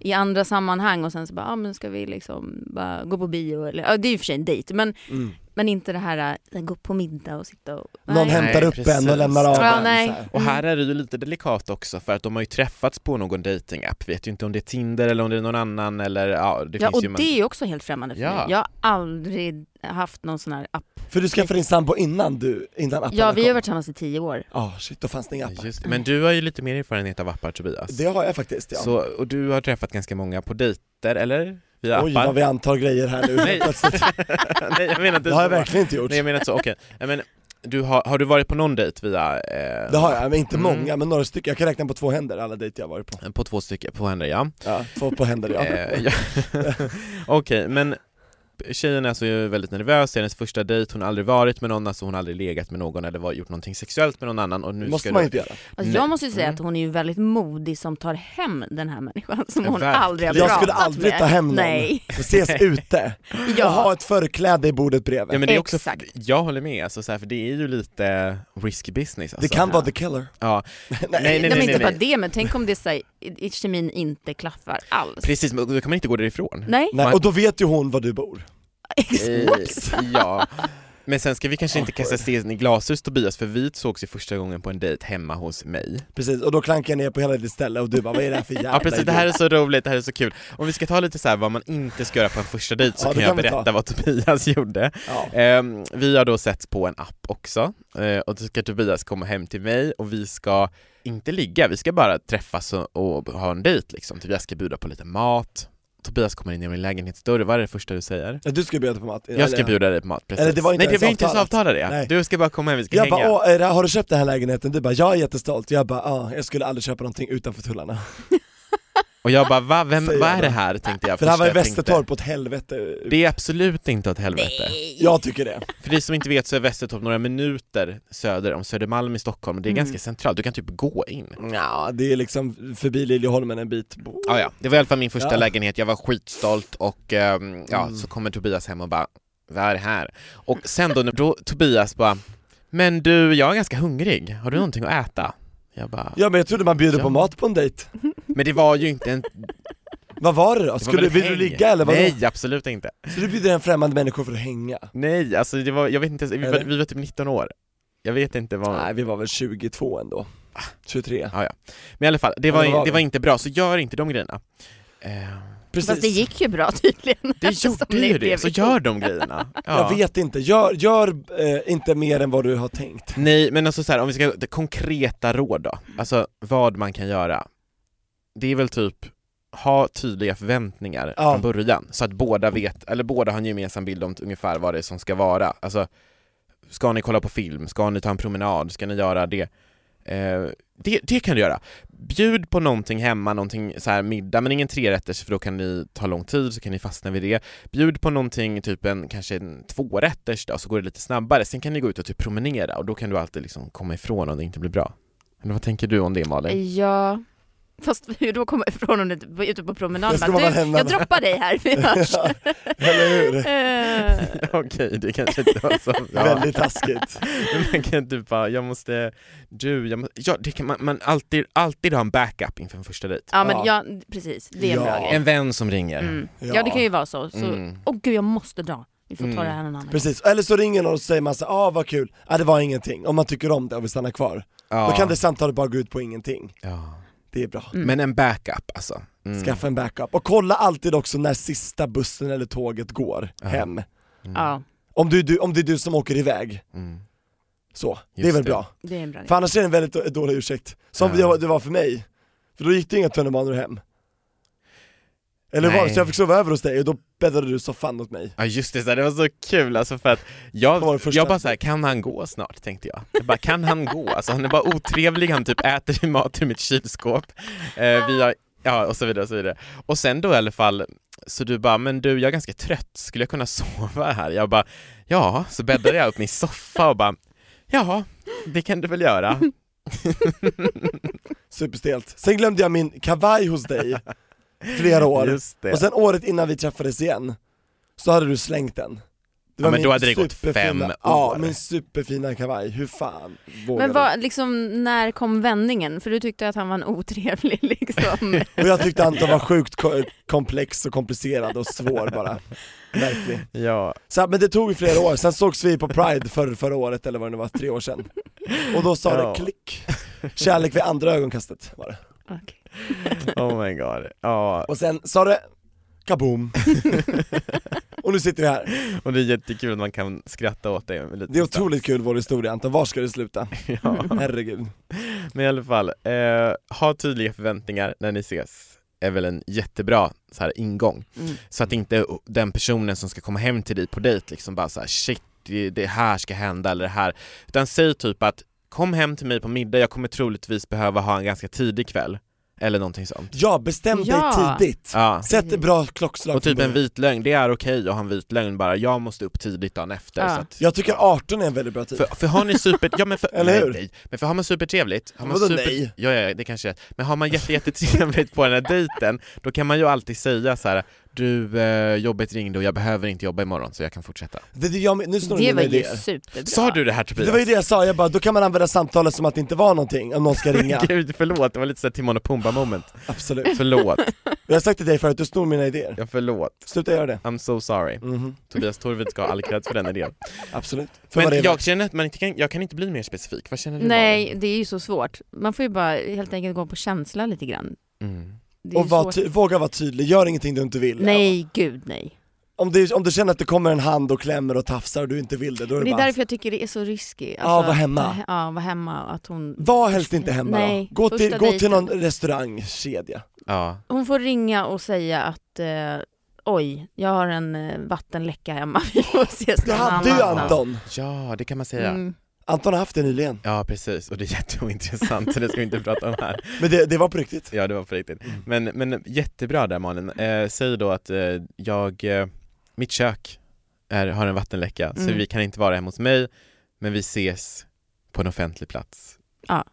Speaker 4: i andra sammanhang och sen så bara, ah, men ska vi liksom bara gå på bio eller, ja det är ju i och för sig en dejt, men,
Speaker 1: Mm.
Speaker 4: men inte det här äh, gå på middag och sitta och...
Speaker 1: Någon
Speaker 4: nej.
Speaker 1: hämtar upp
Speaker 2: precis.
Speaker 1: en och lämnar av
Speaker 4: Ja,
Speaker 1: en.
Speaker 4: nej.
Speaker 1: så här.
Speaker 2: Och här
Speaker 4: Mm.
Speaker 2: är det ju lite delikat också för att de har ju träffats på någon datingapp. vet ju inte om det är Tinder eller om det är någon annan eller ja, det
Speaker 4: Ja,
Speaker 2: finns
Speaker 4: och
Speaker 2: ju man-
Speaker 4: det är ju också helt främmande för
Speaker 2: Ja.
Speaker 4: mig. Jag har aldrig haft någon sån här app.
Speaker 1: För du skaffade din sambo innan du, innan apparna
Speaker 4: Ja, vi har
Speaker 1: kom.
Speaker 4: varit tillsammans i tio år.
Speaker 1: Ja, shit, då fanns det inga
Speaker 2: Ja,
Speaker 1: appar.
Speaker 2: Just, det. men du har ju lite mer erfarenhet av appar Tobias.
Speaker 1: Det har jag faktiskt ja.
Speaker 2: Så, äh, och du har träffat ganska många på dejter, eller? Via
Speaker 1: Oj,
Speaker 2: appar?
Speaker 1: vad vi antar grejer här nu.
Speaker 2: Nej.
Speaker 1: Plötsligt.
Speaker 2: Nej, jag menar inte
Speaker 1: Det har jag
Speaker 2: så.
Speaker 1: verkligen inte gjort.
Speaker 2: Nej jag menar inte så, okej. Nej, Men, Du har, har du varit på någon dejt via... Eh,
Speaker 1: Det har jag, men inte
Speaker 2: Mm.
Speaker 1: många, men några stycken. Jag kan räkna på två händer alla dejter jag varit på.
Speaker 2: eh, På två stycken, på henne ja.
Speaker 1: Ja, två på händer ja.
Speaker 2: Eh, ja. Okej, men tjejen är alltså ju väldigt nervös, det är hennes första dejt, hon har aldrig varit med någon, alltså hon har aldrig legat med någon eller var- gjort någonting sexuellt med någon annan och nu
Speaker 1: Måste
Speaker 2: ska
Speaker 1: man
Speaker 2: du...
Speaker 1: inte göra.
Speaker 4: Alltså,
Speaker 2: Nej.
Speaker 4: jag måste ju säga
Speaker 2: Mm.
Speaker 4: att hon är ju väldigt modig som tar hem den här människan som hon
Speaker 2: Verkligen.
Speaker 4: aldrig har
Speaker 1: Jag
Speaker 4: pratat
Speaker 1: skulle aldrig
Speaker 4: med.
Speaker 1: ta hem någon.
Speaker 4: Nej.
Speaker 1: Och ses ute. Och ha
Speaker 4: Ja.
Speaker 1: ett förkläde i bordet bredvid.
Speaker 2: Ja men det är också,
Speaker 4: Exakt.
Speaker 2: jag håller med, alltså, så här, för det är ju lite risky business alltså.
Speaker 1: det kan vara the killer.
Speaker 2: Ja. nej, nej, nej,
Speaker 4: de är
Speaker 2: nej,
Speaker 4: inte
Speaker 2: nej.
Speaker 4: bara det, men tänk om det så här, i- i- kemin inte klaffar alls.
Speaker 2: Precis, men då kan man inte gå därifrån.
Speaker 4: Nej,
Speaker 1: Nej,
Speaker 2: Man-
Speaker 1: och då vet ju hon var du bor.
Speaker 4: exakt.
Speaker 2: Eh, ja. Men sen ska vi kanske inte kasta sten i glashus Tobias, för vi sågs ju första gången på en dejt hemma hos mig.
Speaker 1: Precis, och då klankar jag ner på hela ditt ställe och du bara vad är det här för jävla
Speaker 2: Ja precis, det här är
Speaker 1: idiot?
Speaker 2: så roligt, det här är så kul. Om vi ska ta lite så här vad man inte ska göra på en första dejt så
Speaker 1: Ja, det
Speaker 2: kan jag
Speaker 1: kan vi ta.
Speaker 2: berätta vad Tobias gjorde.
Speaker 1: Ja.
Speaker 2: Ehm, vi har då sett på en app också eh, och då ska Tobias komma hem till mig och vi ska inte ligga, vi ska bara träffas och, och ha en dejt liksom. Tobias ska bjuda på lite mat. Tobias kommer in i min lägenhetsdörr, vad är det första du säger?
Speaker 1: Ja, Du ska bjuda på mat.
Speaker 2: Jag ska
Speaker 1: Eller-
Speaker 2: bjuda dig på mat, precis.
Speaker 1: Eller det var inte
Speaker 2: Nej det
Speaker 1: ens
Speaker 2: var inte ens
Speaker 1: avtalat.
Speaker 2: avtalat det.
Speaker 1: Nej.
Speaker 2: Du ska bara komma hem, vi ska
Speaker 1: Jag
Speaker 2: hänga.
Speaker 1: bara, Åh, är det här- har du köpt den här lägenheten? Du bara, jag är jättestolt. Jag bara, ja, jag skulle aldrig köpa någonting utanför tullarna.
Speaker 2: och jag bara, va, vem,
Speaker 1: Säger
Speaker 2: vad
Speaker 1: jag
Speaker 2: är
Speaker 1: då.
Speaker 2: det här? Tänkte jag
Speaker 1: För det här
Speaker 2: först.
Speaker 1: var i
Speaker 2: Jag tänkte,
Speaker 1: Västertorp åt helvete.
Speaker 2: Det är absolut inte åt helvete.
Speaker 1: Jag tycker det.
Speaker 2: För de som inte vet så är Västertorp några minuter söder om Södermalm i Stockholm,
Speaker 1: Mm.
Speaker 2: det är ganska centralt, du kan typ gå in.
Speaker 1: Ja, det är liksom förbi Liljeholmen en bit.
Speaker 2: Ah, ja. Det var i alla fall min första
Speaker 1: Ja. Mm.
Speaker 2: lägenhet, jag var skitstolt och ehm, ja, så kommer Tobias hem och bara Vad är det här? Och sen då, då Tobias bara Men du, jag är ganska hungrig, har du
Speaker 1: Mm.
Speaker 2: någonting att äta? Jag bara,
Speaker 1: Ja men jag trodde man bjuder
Speaker 2: Ja.
Speaker 1: på mat på en dejt.
Speaker 2: men det var ju inte en... det var
Speaker 1: Vad var det då?
Speaker 2: väl
Speaker 1: Skulle,
Speaker 2: ett
Speaker 1: vill du
Speaker 2: häng."
Speaker 1: ligga eller vadå?
Speaker 2: Nej, absolut inte.
Speaker 1: Så du bjuder en främmande människa för att hänga?
Speaker 2: Nej, alltså det var, jag vet inte, ens- vi, var-
Speaker 1: Eller?
Speaker 2: vi var typ 19 år. Jag vet inte vad...
Speaker 1: Nej, vi var väl 22 ändå. 23.
Speaker 2: Men i alla fall, det
Speaker 1: Ja,
Speaker 2: var,
Speaker 1: det var
Speaker 2: det
Speaker 1: vi.
Speaker 2: var inte bra, så gör inte de grejerna. Ehm,
Speaker 1: Precis.
Speaker 4: Fast det gick ju bra tydligen.
Speaker 2: Det
Speaker 4: eftersom
Speaker 2: gjorde ju det,
Speaker 4: blev
Speaker 2: så
Speaker 4: ihop.
Speaker 2: gör de grejerna. Ja.
Speaker 1: Jag vet inte, gör, gör eh, inte mer än vad du har tänkt.
Speaker 2: Nej men alltså så här, om vi ska, det konkreta råd då, alltså vad man kan göra. Det är väl typ, ha tydliga förväntningar
Speaker 1: Ja.
Speaker 2: från början så att båda vet, eller båda har en gemensam bild om ungefär vad det är som ska vara. Alltså, ska ni kolla på film? Ska ni ta en promenad? Ska ni göra det? Eh, det, det kan du göra. Bjud på någonting hemma, någonting så här middag, men ingen trerätters för då kan ni ta lång tid, så kan ni fastna vid det. Bjud på någonting, typ en kanske en tvårätters då, så går det lite snabbare. Sen kan ni gå ut och typ promenera och då kan du alltid liksom komma ifrån om det inte blir bra. Eller vad tänker du om det Malin?
Speaker 4: Ja. Fast hur då kommer jag ifrån om du inte är ute på promenaden?
Speaker 1: Då ska man
Speaker 4: Bara,
Speaker 1: väl
Speaker 4: Du,
Speaker 1: lämna
Speaker 4: jag
Speaker 1: den."
Speaker 4: droppar dig här, vi hörs.
Speaker 1: Eller hur?
Speaker 4: Eh,
Speaker 2: Okej, det kanske inte var så bra.
Speaker 1: Väldigt taskigt.
Speaker 2: Men man kan typ bara, jag måste, du, jag måste, ja det kan man, man alltid, alltid ha en backup inför en första dejt.
Speaker 4: ja men
Speaker 1: Ja.
Speaker 4: ja, precis, det är en
Speaker 1: Ja.
Speaker 4: bra grej.
Speaker 2: En vän som ringer.
Speaker 4: Mm.
Speaker 1: Ja.
Speaker 4: Ja. det kan ju vara så. så
Speaker 2: Mm.
Speaker 4: Åh gud jag måste dra, vi får ta
Speaker 2: Mm.
Speaker 4: det här någon annan gång.
Speaker 1: Precis, eller så ringer någon och säger man så här, ah vad kul, ah, det var ingenting, om man tycker om det och vill stanna kvar.
Speaker 2: Ja.
Speaker 1: Då kan det samtalet bara gå ut på ingenting.
Speaker 2: ja.
Speaker 1: Det är bra.
Speaker 4: Mm.
Speaker 2: Men en backup alltså. Mm.
Speaker 1: Skaffa en backup. Och kolla alltid också när sista bussen eller tåget går
Speaker 2: Ja.
Speaker 1: hem.
Speaker 4: Ja,
Speaker 1: Om, du, du, om det är du som åker iväg,
Speaker 2: Mm.
Speaker 1: så. det är
Speaker 2: Just
Speaker 1: väl
Speaker 2: det.
Speaker 1: bra.
Speaker 4: det är en bra grej.
Speaker 1: För annars är det en väldigt då- dålig ursäkt. Som
Speaker 2: Ja.
Speaker 1: det var för mig. För då gick det inga tunnelbanor hem. Eller var det?
Speaker 2: Nej.
Speaker 1: Så jag fick sova över hos dig och då bäddade du soffan åt mig.
Speaker 2: Ja just det, så här, det var så kul alltså för att
Speaker 1: Vad var det
Speaker 2: jag,
Speaker 1: första?
Speaker 2: jag bara såhär, kan han gå snart? tänkte jag. jag bara, kan han gå? Alltså han är bara otrevlig, han typ äter mat ur mitt kylskåp. Eh, vi har, ja och så vidare och så vidare. Och sen då i alla fall, så du bara, men du jag är ganska trött, skulle jag kunna sova här? Jag bara, ja, så bäddade jag upp min soffa och bara, ja, det kan du väl göra.
Speaker 1: Superstelt. Sen glömde jag min kavaj hos dig flera år.
Speaker 2: Just det.
Speaker 1: Och sen året innan vi träffades igen, så hade du slängt den. Det
Speaker 2: Ja, men
Speaker 1: min
Speaker 2: då hade det gått
Speaker 1: superfina-
Speaker 2: fem
Speaker 1: Ja,
Speaker 2: år.
Speaker 1: min superfina kavaj. Hur fan vågade
Speaker 4: Men vad, liksom, när kom vändningen? För du tyckte att han var en otrevlig liksom.
Speaker 1: du? Och jag tyckte Anton var sjukt ko- komplex och komplicerad och svår bara. Verkligen.
Speaker 2: ja.
Speaker 1: Så, här, men det tog ju flera år, sen sågs vi på Pride för, förra året eller vad det nu var, tre år sedan. Och då sa
Speaker 2: Ja.
Speaker 1: det klick, kärlek vid andra ögonkastet var det.
Speaker 4: Okej.
Speaker 2: Oh my god. Ja,
Speaker 1: Och sen sa det kaboom. Och nu sitter vi här.
Speaker 2: och det är jättekul att man kan skratta åt det. med lite
Speaker 1: Det är
Speaker 2: distans.
Speaker 1: otroligt kul vår historia Anton, var ska det sluta?
Speaker 2: Ja.
Speaker 1: Herregud.
Speaker 2: Men i alla fall, eh, ha tydliga förväntningar när ni ses är väl en jättebra så här, ingång.
Speaker 4: Mm.
Speaker 2: Så att inte den personen som ska komma hem till dig på dejt liksom bara så här, shit det, det här ska hända eller det här. Utan säg typ att kom hem till mig på middag, jag kommer troligtvis behöva ha en ganska tidig kväll. Eller någonting sånt.
Speaker 1: Ja, bestäm
Speaker 4: Ja.
Speaker 1: dig tidigt.
Speaker 2: Ja.
Speaker 1: Sätt ett bra klockslag
Speaker 2: Och typ
Speaker 1: från
Speaker 2: en
Speaker 4: Mm.
Speaker 1: början.
Speaker 2: vit lögn, det är okej att ha en vit lögn bara, jag måste upp tidigt dagen efter.
Speaker 4: Ja.
Speaker 2: Så att,
Speaker 1: Jag tycker 18 är en väldigt bra tid.
Speaker 2: för, för har ni super... Ja, men för,
Speaker 1: Eller
Speaker 2: nej,
Speaker 1: hur?
Speaker 2: Nej, men för har man supertrevligt, har man
Speaker 1: Vadå
Speaker 2: super...
Speaker 1: nej?
Speaker 2: Ja, ja, ja, det kanske är Men har man jätte, jättetrevligt på den här dejten, då kan man ju alltid säga så här. du, eh, jobbet ringde och jag behöver inte jobba imorgon så jag kan fortsätta.
Speaker 1: Det, är det, jag, men- nu snor
Speaker 4: Det
Speaker 1: du
Speaker 4: var
Speaker 1: mina
Speaker 4: ju
Speaker 1: idéer.
Speaker 4: superbra.
Speaker 2: Sa du det här Tobias?
Speaker 1: Det var ju det jag sa, jag bara, då kan man använda samtalet som att det inte var någonting om någon ska ringa.
Speaker 2: Gud, förlåt, det var lite såhär Timon och Pumba moment.
Speaker 1: Absolut.
Speaker 2: Förlåt,
Speaker 1: Jag har sagt till dig förut, du snor mina idéer.
Speaker 2: ja förlåt.
Speaker 1: Sluta göra det.
Speaker 2: I'm so sorry.
Speaker 1: Mhm,
Speaker 2: Tobias Torvid ska ha all cred för den idén.
Speaker 1: absolut. För vad det
Speaker 2: Men
Speaker 1: är
Speaker 2: jag
Speaker 1: värt.
Speaker 2: känner att man inte kan, jag kan inte bli mer specifik, vad känner du
Speaker 4: Nej, det är ju så svårt. Man får ju bara helt enkelt gå på känsla lite grann.
Speaker 2: Malin? Mm.
Speaker 4: Det är
Speaker 1: Och
Speaker 4: ju
Speaker 1: var
Speaker 4: svårt.
Speaker 1: ty- våga vara typ- tydlig, gör ingenting du inte vill.
Speaker 4: Nej, gud nej.
Speaker 1: Om du, om du känner att det kommer en hand och klämmer och tafsar och du inte vill det, då är
Speaker 4: Men
Speaker 1: det,
Speaker 4: det är
Speaker 1: bara...
Speaker 4: därför jag tycker det är så risky. Alltså,
Speaker 1: Ja, vara hemma.
Speaker 4: Ja, vara hemma. och Att hon,
Speaker 1: Var helst inte hemma
Speaker 4: Nej,
Speaker 1: då. Gå till,
Speaker 4: första
Speaker 1: gå till
Speaker 4: dejten.
Speaker 1: någon restaurangkedja.
Speaker 2: Ja,
Speaker 4: hon får ringa och säga att eh, oj, jag har en eh, vattenläcka hemma, vi får ses
Speaker 1: Det
Speaker 4: någon
Speaker 1: hade ju
Speaker 2: alltså?
Speaker 4: annanstans.
Speaker 1: Anton.
Speaker 2: ja det kan man säga.
Speaker 4: Mm.
Speaker 1: Anton har haft det nyligen.
Speaker 2: Ja precis, och det är jätteointressant så det ska vi inte prata om här.
Speaker 1: Men det, det var på riktigt.
Speaker 2: Ja det var på riktigt. Men, men jättebra där Malin. Eh, säg då att eh, jag, eh, mitt kök är, har en vattenläcka så
Speaker 4: Mm.
Speaker 2: vi kan inte vara hemma hos mig men vi ses på en offentlig plats.
Speaker 1: Ja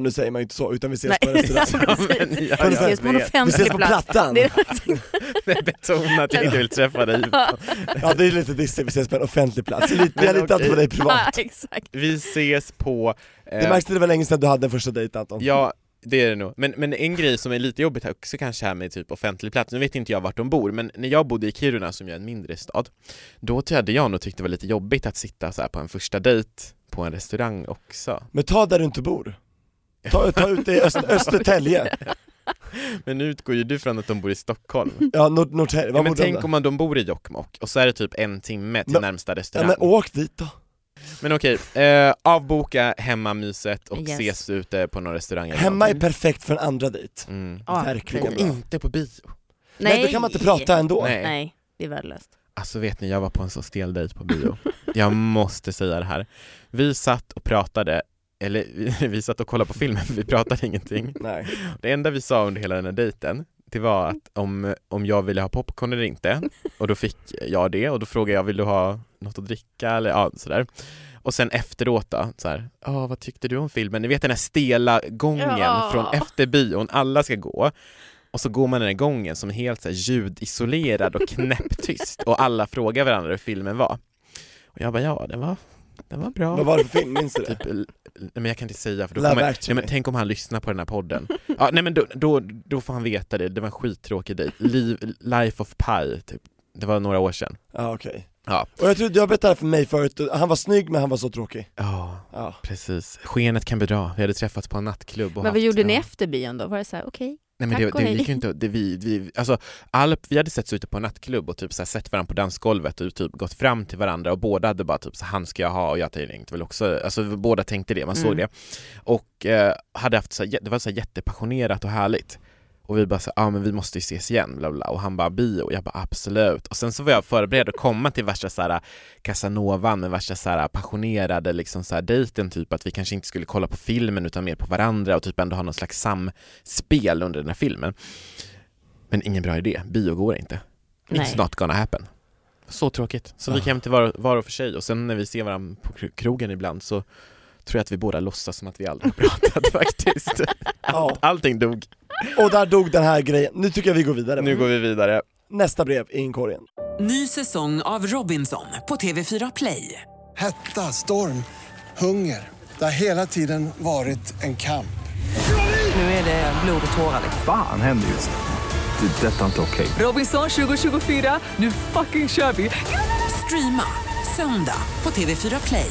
Speaker 1: nu säger man ju inte så, utan vi ses
Speaker 4: Nej,
Speaker 1: på en restaurang.
Speaker 2: Ja,
Speaker 4: precis.
Speaker 2: men jag-
Speaker 4: Vi ses på en
Speaker 2: jag vet.
Speaker 4: offentlig plats.
Speaker 1: Vi ses på Plattan!
Speaker 4: Det är-
Speaker 2: Betona att jag inte vill träffa dig.
Speaker 1: Ja det är lite dissigt, vi ses på en offentlig plats. Lite, jag
Speaker 2: Men
Speaker 1: litar inte på
Speaker 2: okej.
Speaker 1: dig
Speaker 4: Ja,
Speaker 1: privat.
Speaker 4: exakt.
Speaker 2: Vi ses på... eh,
Speaker 1: Det märks att det var länge sedan du hade en första dejt Anton.
Speaker 2: Ja, det är det nog. Men, men en grej som är lite jobbigt här också kanske här med typ offentlig plats, nu vet inte jag vart de bor, men när jag bodde i Kiruna som ju är en mindre stad, då hade jag nog tyckt det var lite jobbigt att sitta så här på en första dejt på en restaurang också.
Speaker 1: Men ta där du inte bor. Ta, ta ut det i Öst, Östertälje.
Speaker 2: Men nu utgår ju du från att de bor i Stockholm.
Speaker 1: Ja, Nord, Norrtälje,
Speaker 2: Ja,
Speaker 1: var
Speaker 2: men
Speaker 1: bor de
Speaker 2: tänk
Speaker 1: då?
Speaker 2: om man, de bor i Jokkmokk och så är det typ en timme till
Speaker 1: Men-
Speaker 2: närmsta
Speaker 1: Ja,
Speaker 2: restaurang.
Speaker 1: men åk dit då.
Speaker 2: men okej, eh, avboka hemmamyset och
Speaker 4: Yes.
Speaker 2: ses ute på någon restaurang. eller
Speaker 1: Hemma är
Speaker 2: någonting.
Speaker 1: perfekt för en andra dejt.
Speaker 2: Mm.
Speaker 4: Ja,
Speaker 1: Verkligen.
Speaker 4: precis.
Speaker 1: bra.
Speaker 2: Inte på bio.
Speaker 1: Nej. Men då kan man inte prata ändå.
Speaker 2: Nej.
Speaker 4: Nej, det är värdelöst.
Speaker 2: Alltså vet ni, jag var på en så stel dejt på bio. Jag måste säga det här. Vi satt och pratade, eller vi, vi satt och kollade på filmen, vi pratade ingenting.
Speaker 1: Nej.
Speaker 2: Det enda vi sa under hela den här dejten, det var att om, om jag ville ha popcorn eller inte, och då fick jag det, och då frågade jag vill du ha något att dricka eller ja, sådär. Och sen efteråt då, såhär, ja vad tyckte du om filmen? Ni vet den här stela gången
Speaker 4: Ja.
Speaker 2: från efter bion, alla ska gå. Och så går man den här gången som är helt så här ljudisolerad och knäpptyst och alla frågar varandra hur filmen var. Och jag bara, ja den var, den var bra.
Speaker 1: Vad var det för film, minns du det?
Speaker 2: Typ, l- nej, men jag kan inte säga för då
Speaker 1: Love
Speaker 2: kommer, nej,
Speaker 1: actually.
Speaker 2: men tänk om han lyssnar på den här podden. Ja, nej men då, då, då får han veta det, det var en skittråkig dejt. Liv, Life of Pi, typ. det var några år sedan.
Speaker 1: Ja okej.
Speaker 2: Ja.
Speaker 1: Och jag tror du har berättat det här för mig förut, han var snygg men han var så tråkig.
Speaker 2: Ja,
Speaker 1: Ja.
Speaker 2: precis. Skenet kan bedra, vi hade träffats på en nattklubb och
Speaker 4: Men vad gjorde
Speaker 2: ja.
Speaker 4: ni efter bion då? Var det så här, okej?
Speaker 2: Nej men
Speaker 4: Tack
Speaker 2: det,
Speaker 4: och
Speaker 2: det
Speaker 4: hej.
Speaker 2: gick ju inte, det, vi, vi, alltså, all, vi hade setts ute på en nattklubb och typ så här, sett varandra på dansgolvet och typ gått fram till varandra och båda hade bara typ så här, han ska jag ha och jag tänkte inte väl också, alltså vi båda tänkte det, man såg
Speaker 4: Mm.
Speaker 2: det. Och eh, hade haft så här, jä- det var så här, jättepassionerat och härligt. Och vi bara så ja ah, men vi måste ju ses igen, bla bla, och han bara bio, och jag bara absolut. Och sen så var jag förberedd att komma till värsta så här Casanovan med värsta så här passionerade liksom så här dejten typ att vi kanske inte skulle kolla på filmen utan mer på varandra och typ ändå ha någon slags samspel under den här filmen. Men ingen bra idé, bio går inte.
Speaker 4: Nej.
Speaker 2: It's not gonna happen. Så tråkigt. Så vi
Speaker 1: Ah.
Speaker 2: kan inte vara, vara för sig och sen när vi ser varandra på kro- krogen ibland så tror jag att vi båda låtsas som att vi aldrig har pratat faktiskt.
Speaker 1: Ja.
Speaker 2: Allting dog.
Speaker 1: Och där dog den här grejen, nu tycker jag vi går vidare.
Speaker 2: Nu går vi vidare.
Speaker 1: Nästa brev i inkorgen.
Speaker 5: Ny säsong av Robinson på TV4 Play.
Speaker 6: Hetta, storm, hunger. Det har hela tiden varit en kamp.
Speaker 5: Nu är det blod och tårar.
Speaker 7: Fan händer just det. Det är detta inte okej.
Speaker 5: Robinson 2024, nu fucking kör vi! Streama söndag på TV4 Play.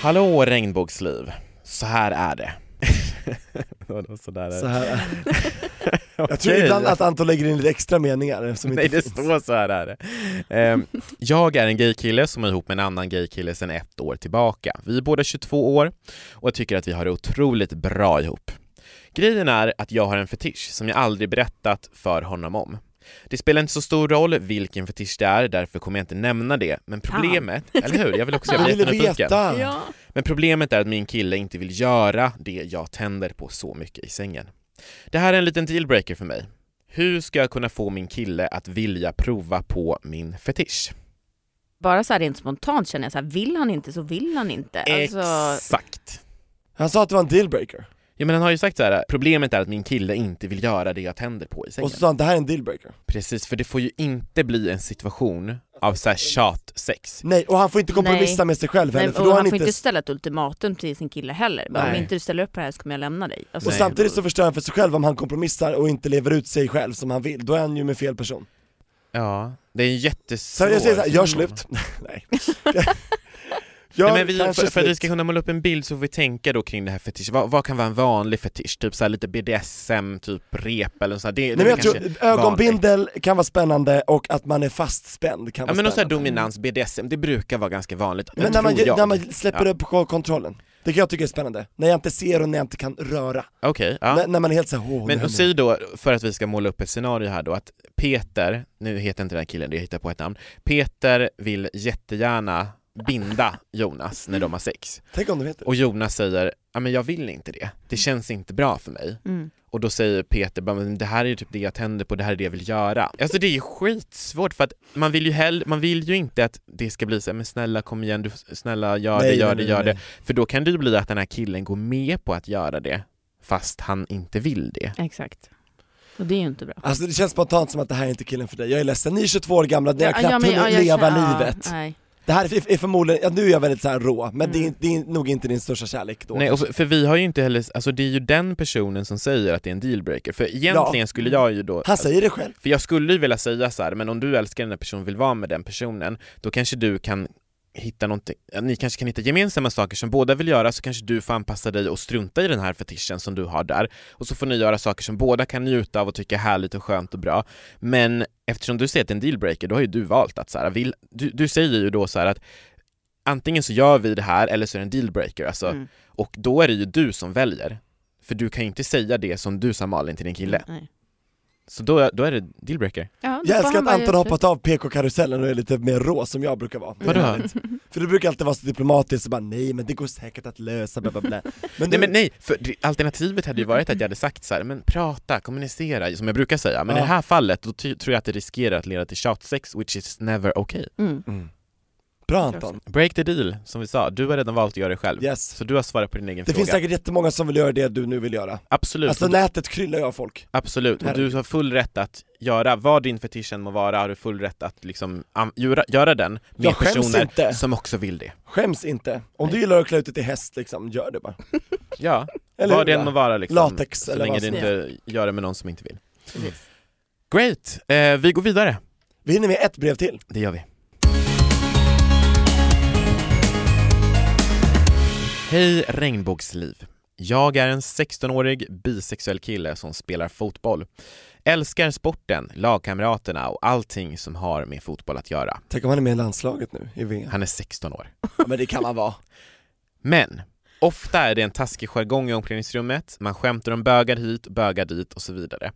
Speaker 2: Hallå regnbågsliv, så här är det. Vadå, så där är det?
Speaker 1: Så här är Jag tror ibland att Anton lägger in lite extra meningar eftersom
Speaker 2: Nej
Speaker 1: inte
Speaker 2: det står så här är det. Ehm, jag är en gaykille som är ihop med en annan gaykille sedan ett år tillbaka. Vi är båda 22 år och jag tycker att vi har det otroligt bra ihop. Grejen är att jag har en fetisch som jag aldrig berättat för honom om. Det spelar inte så stor roll vilken fetisch det är, därför kommer jag inte nämna det, men problemet, eller hur? Jag vill också, jag
Speaker 1: Jag
Speaker 2: blir
Speaker 1: ville
Speaker 2: jättenyfiken.
Speaker 1: veta. Ja.
Speaker 2: Men problemet är att min kille inte vill göra det jag tänder på så mycket i sängen. Det här är en liten dealbreaker för mig. Hur ska jag kunna få min kille att vilja prova på min fetisch?
Speaker 4: Bara så här rent spontant känner jag så här, vill han inte så vill han inte. Alltså,
Speaker 2: Exakt!
Speaker 1: Han sa att det var en dealbreaker,
Speaker 2: Ja men han har ju sagt så här. problemet är att min kille inte vill göra det jag tänder på i sängen.
Speaker 1: och så sa han det här är en dealbreaker
Speaker 2: Precis, för det får ju inte bli en situation av så här tjatsex.
Speaker 1: Nej, och han får inte kompromissa
Speaker 4: Nej.
Speaker 1: med sig själv
Speaker 4: nej,
Speaker 1: heller,
Speaker 4: och
Speaker 1: för då är
Speaker 4: han
Speaker 1: han
Speaker 4: får
Speaker 1: inte...
Speaker 4: inte ställa ett ultimatum till sin kille heller. Bara, Om
Speaker 1: Nej.
Speaker 4: inte du ställer upp på det här så kommer jag lämna dig. Alltså,
Speaker 1: Och samtidigt så förstör han för sig själv om han kompromissar och inte lever ut sig själv som han vill, då är han ju med fel person
Speaker 2: Ja, det är en jättesvår...
Speaker 1: Så jag säger såhär, gör
Speaker 2: situation.
Speaker 1: slut! Nej.
Speaker 2: Nej,
Speaker 1: Gör
Speaker 2: men vi, för,
Speaker 1: kanske
Speaker 2: för att vi
Speaker 1: slut.
Speaker 2: ska kunna måla upp en bild så får vi tänka då kring det här fetisch. Vad, vad kan vara en vanlig fetisch? Typ så här lite BDSM, typ rep eller så här. Det, det
Speaker 1: Nej men
Speaker 2: är
Speaker 1: jag tror
Speaker 2: kanske vanligt.
Speaker 1: ögonbindel kan vara spännande och att man är fastspänd kan
Speaker 2: Ja
Speaker 1: vara
Speaker 2: men och så här
Speaker 1: spännande
Speaker 2: dominans, BDSM, det brukar vara ganska vanligt.
Speaker 1: Men
Speaker 2: det
Speaker 1: när man,
Speaker 2: tror jag.
Speaker 1: när man släpper
Speaker 2: ja.
Speaker 1: upp ko- kontrollen, det kan jag tycka är spännande, när jag inte ser och när jag inte kan röra,
Speaker 2: Okej, ja.
Speaker 1: när, när man är helt såhär åh, det
Speaker 2: Men
Speaker 1: händer."
Speaker 2: och säg då, för att vi ska måla upp ett scenario här då, att Peter, nu heter inte den här killen det, jag hittar på ett namn, Peter vill jättegärna binda Jonas när de har sex.
Speaker 1: Tänk om de heter
Speaker 2: Och Jonas säger, ja men jag vill inte det, det känns inte bra för mig.
Speaker 4: Mm.
Speaker 2: Och då säger Peter bara, men det här är ju typ det jag tänder på, det här är det jag vill göra. Alltså det är ju skitsvårt för att man vill ju hell, man vill ju inte att det ska bli så här, men snälla kom igen, du, snälla gör det,
Speaker 1: Nej,
Speaker 2: gör
Speaker 1: nej,
Speaker 2: det,
Speaker 1: nej,
Speaker 2: gör
Speaker 1: nej.
Speaker 2: det. För då kan det ju bli att den här killen går med på att göra det, fast han inte vill det.
Speaker 4: Exakt. Och det är ju inte bra.
Speaker 1: Alltså det känns spontant som att det här är inte killen för dig, jag är ledsen, ni är 22 år gamla, ni har knappt
Speaker 4: men-
Speaker 1: hunnit
Speaker 4: jag
Speaker 1: leva
Speaker 4: känner- ja,
Speaker 1: livet
Speaker 4: nej. Mm.
Speaker 1: Det här är, är förmodligen, ja, nu är jag väldigt såhär rå, men det, är, det är nog inte din största kärlek då
Speaker 2: Nej, och för, för vi har ju inte heller, alltså det är ju den personen som säger att det är en dealbreaker, för egentligen
Speaker 1: Ja.
Speaker 2: skulle jag ju då
Speaker 1: Han säger det själv,
Speaker 2: För jag skulle ju vilja säga så här, men om du älskar den här personen och vill vara med den personen, då kanske du kan hitta någonting, ni kanske kan hitta gemensamma saker som båda vill göra, så kanske du får anpassa dig och strunta i den här fetischen som du har där, och så får ni göra saker som båda kan njuta av och tycka är härligt och skönt och bra. Men eftersom du säger att det är en dealbreaker, då har ju du valt att så här, vill, du, du säger ju då så här att antingen så gör vi det här eller så är det en dealbreaker, alltså,
Speaker 4: Mm.
Speaker 2: och då är det ju du som väljer. För du kan ju inte säga det som du sa Malin till din kille,
Speaker 4: Nej.
Speaker 2: så då, då är det dealbreaker.
Speaker 4: Ja, då
Speaker 1: jag
Speaker 4: får
Speaker 1: älskar
Speaker 4: han
Speaker 1: att
Speaker 4: bara
Speaker 1: Anton
Speaker 4: göra
Speaker 1: har hoppat av PK-karusellen och är lite mer rå som jag brukar vara
Speaker 2: Vadå?
Speaker 1: För du brukar alltid vara så diplomatisk och bara nej men det går säkert att lösa, bla bla bla Men,
Speaker 2: Nej
Speaker 1: nu-
Speaker 2: men nej, för det- alternativet hade ju varit att jag hade sagt så här, men prata, kommunicera, som jag brukar säga, men i
Speaker 1: Ja.
Speaker 2: det här fallet då ty- tror jag att det riskerar att leda till tjatsex, which is never okay.
Speaker 4: slut. Mm.
Speaker 1: Bra Anton,
Speaker 2: Break the deal, som vi sa, du har redan valt att göra det själv.
Speaker 1: yes
Speaker 2: Så du har svarat på din egen
Speaker 1: Det
Speaker 2: fråga.
Speaker 1: finns säkert jättemånga som vill göra det du nu vill göra
Speaker 2: Absolut,
Speaker 1: Alltså
Speaker 2: och du,
Speaker 1: nätet kryllar ju av folk
Speaker 2: absolut. Och du har full rätt att göra vad din fetisch än må vara, har du full rätt att liksom an- göra, göra den med
Speaker 1: Jag skäms
Speaker 2: personer
Speaker 1: inte.
Speaker 2: som också vill det.
Speaker 1: Skäms inte, om du gillar att klä ut dig till häst liksom, gör det bara
Speaker 2: Ja,
Speaker 1: Eller
Speaker 2: vad det
Speaker 1: hur?
Speaker 2: än må vara liksom.
Speaker 1: Latex
Speaker 2: så
Speaker 1: eller
Speaker 2: länge
Speaker 1: vad
Speaker 2: du
Speaker 1: som
Speaker 2: inte gör det med någon som inte vill.
Speaker 4: Precis.
Speaker 2: Great! Eh, vi går vidare.
Speaker 1: Vi hinner med ett brev till
Speaker 2: Det gör vi. Hej regnbågsliv. Jag är en 16-årig bisexuell kille som spelar fotboll. Älskar sporten, lagkamraterna och allting som har med fotboll att göra.
Speaker 1: Tänk om han är med i landslaget nu, i VM
Speaker 2: Han är 16 år.
Speaker 1: ja, Men det kan man vara
Speaker 2: Men ofta är det en taskig jargong i omklädningsrummet, man skämtar om bögar hit, bögar dit och så vidare.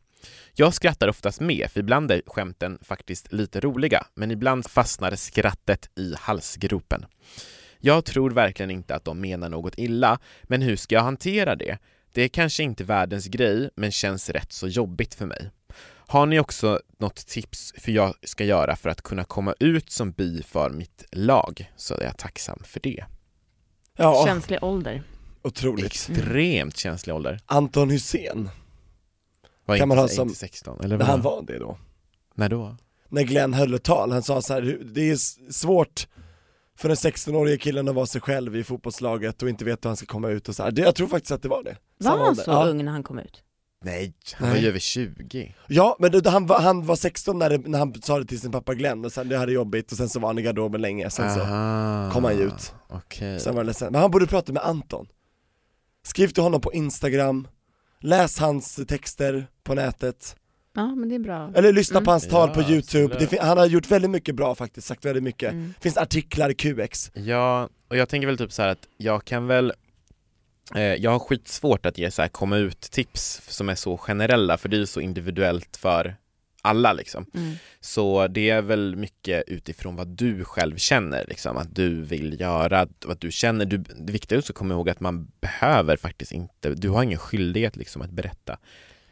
Speaker 2: Jag skrattar oftast med, för ibland är skämten faktiskt lite roliga, men ibland fastnar skrattet i halsgropen. Jag tror verkligen inte att de menar något illa, men hur ska jag hantera det? Det är kanske inte världens grej, men känns rätt så jobbigt för mig. Har ni också något tips för jag ska göra för att kunna komma ut som bi för mitt lag, så är jag tacksam för det.
Speaker 1: Ja,
Speaker 4: Känslig ålder.
Speaker 1: otroligt
Speaker 2: Extremt känslig ålder.
Speaker 1: Anton Hussein,
Speaker 2: Var
Speaker 1: Kan
Speaker 2: inte,
Speaker 1: man ha
Speaker 2: inte
Speaker 1: som-
Speaker 2: 16? Eller
Speaker 1: när
Speaker 2: vad?
Speaker 1: han var det då
Speaker 2: När då?
Speaker 1: När Glenn höll ett tal, han sa så här, "Hur- det är s- svårt för den 16-årige killen att vara sig själv i fotbollslaget och inte veta hur han ska komma ut och så här. Det, jag tror faktiskt att det var det
Speaker 4: Var
Speaker 1: Samma
Speaker 4: han
Speaker 1: ålder.
Speaker 4: så
Speaker 1: Ja.
Speaker 4: ung när han kom ut?
Speaker 2: Nej, han var
Speaker 1: Nej.
Speaker 2: ju över 20.
Speaker 1: Ja, men det, han, var- han var 16 när, det, när han sa det till sin pappa Glenn, och sen det hade jobbigt och sen så var han i garderoben länge, sen så
Speaker 2: Aha,
Speaker 1: Alltså, kom han ju ut.
Speaker 2: Okej.
Speaker 1: Sen var han ledsen. Men han borde prata med Anton. Skriv till honom på Instagram, läs hans texter på nätet,
Speaker 4: Ja men det är bra.
Speaker 1: eller lyssna på hans tal på
Speaker 2: Ja,
Speaker 1: youtube. Det,
Speaker 2: absolut.
Speaker 1: fin- han har gjort väldigt mycket bra faktiskt, sagt väldigt mycket.
Speaker 4: Mm.
Speaker 1: Finns artiklar i QX.
Speaker 2: Ja, och jag tänker väl typ så här att jag kan väl eh, jag har skitsvårt att ge så här komma ut-tips som är så generella för det är ju så individuellt för alla liksom.
Speaker 4: Mm.
Speaker 2: Så det är väl mycket utifrån vad du själv känner, liksom, att du vill göra, vad du känner. Du, det viktiga är också att komma ihåg att man behöver faktiskt inte, du har ingen skyldighet liksom att berätta.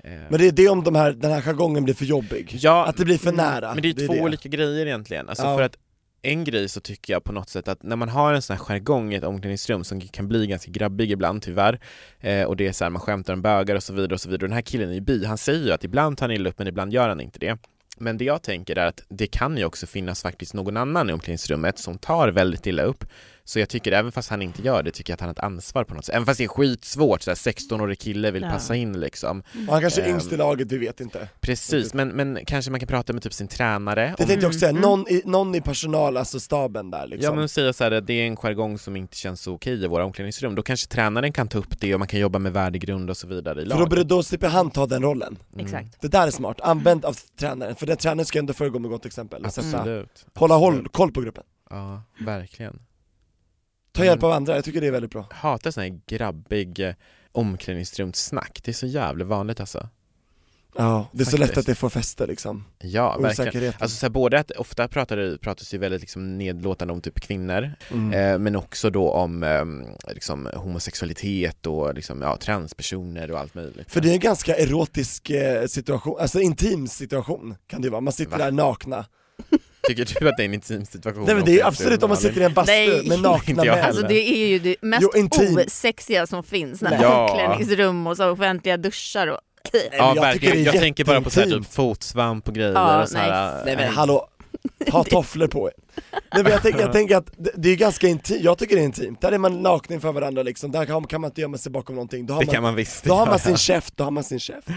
Speaker 2: Eh,
Speaker 1: Men det är det om de här, den här jargongen blir för jobbig.
Speaker 2: ja,
Speaker 1: Att det blir för
Speaker 2: mm,
Speaker 1: nära.
Speaker 2: Men det är, två
Speaker 1: det.
Speaker 2: olika grejer egentligen. Alltså
Speaker 1: Ja.
Speaker 2: för att en grej så tycker jag på något sätt att när man har en sån här jargong i ett omklädningsrum som kan bli ganska grabbig ibland tyvärr eh, och det är så här, man skämtar om bögar och så vidare och så vidare och den här killen i bi, han säger ju att ibland tar han illa upp men ibland gör han inte det. Men det jag tänker är att det kan ju också finnas faktiskt någon annan i omklädningsrummet som tar väldigt illa upp. Så jag tycker även fast han inte gör det tycker jag att han har ett ansvar på något sätt. Även fast det är skitsvårt, så här 16-årig kille vill
Speaker 4: Ja.
Speaker 2: passa in liksom.
Speaker 1: Och han kanske är
Speaker 2: Ehm.
Speaker 1: yngst i laget, vi vet inte.
Speaker 2: Precis, men, men kanske man kan prata med typ sin tränare.
Speaker 1: Det
Speaker 2: om-
Speaker 1: tänkte jag också säga,
Speaker 4: Mm.
Speaker 1: någon i, någon i personal, alltså staben där liksom.
Speaker 2: Ja men säga så här, att det är en jargong som inte känns så okej i våra omklädningsrum, då kanske tränaren kan ta upp det och man kan jobba med värdegrund och så vidare i
Speaker 1: För då,
Speaker 2: laget.
Speaker 1: borde- då slipper han ta den rollen.
Speaker 2: Mm.
Speaker 4: Exakt.
Speaker 1: Det där är smart, använd av tränaren, för den tränaren ska ändå föregå med gott exempel och sätta,
Speaker 2: Absolut.
Speaker 1: hålla håll,
Speaker 2: Absolut.
Speaker 1: koll på gruppen.
Speaker 2: Ja, verkligen.
Speaker 1: Ta
Speaker 2: Mm.
Speaker 1: hjälp av andra, jag tycker det är väldigt bra.
Speaker 2: Hatar sån här grabbig eh, omklädningsrumssnack, det är så jävla vanligt alltså.
Speaker 1: Ja, det är så
Speaker 2: Faktiskt.
Speaker 1: lätt att det får fäste liksom,
Speaker 2: Ja, verkligen.
Speaker 1: osäkerheten.
Speaker 2: Alltså så här, både att ofta pratar det, pratas det ju väldigt liksom nedlåtande om typ kvinnor,
Speaker 1: mm.
Speaker 2: eh, men också då om eh, liksom, homosexualitet och liksom, ja, transpersoner och allt möjligt.
Speaker 1: För det är en ganska erotisk eh, situation, alltså intim situation kan det ju vara, man sitter
Speaker 2: Va? Oh,
Speaker 1: där nakna.
Speaker 2: Tycker du att det är en intim situation?
Speaker 1: Nej men det är ju absolut om man sitter i en bastu
Speaker 4: Nej.
Speaker 1: med nakna
Speaker 2: Inte jag
Speaker 1: män.
Speaker 2: heller.
Speaker 4: Alltså det är ju det mest
Speaker 1: Jo, intim.
Speaker 4: osexiga som finns, när
Speaker 2: Ja.
Speaker 4: omklädningsrum och så offentliga duschar och...
Speaker 2: Ja
Speaker 1: jag
Speaker 2: verkligen,
Speaker 1: tycker det är
Speaker 2: jag tänker bara på så här, typ
Speaker 1: jätteintimt.
Speaker 2: fotsvamp och grejer
Speaker 4: Ja,
Speaker 2: och så här,
Speaker 1: Nej men hallå, ha tofflor på er. Nej men jag tänker, jag tänker att det, det är ganska intimt, jag tycker det är intimt, där är man naken inför varandra liksom, där kan, kan man inte gömma sig bakom någonting, då har
Speaker 2: Det
Speaker 1: man
Speaker 2: kan man visst
Speaker 1: Då har
Speaker 2: göra.
Speaker 1: man sin käft, då har man sin käft.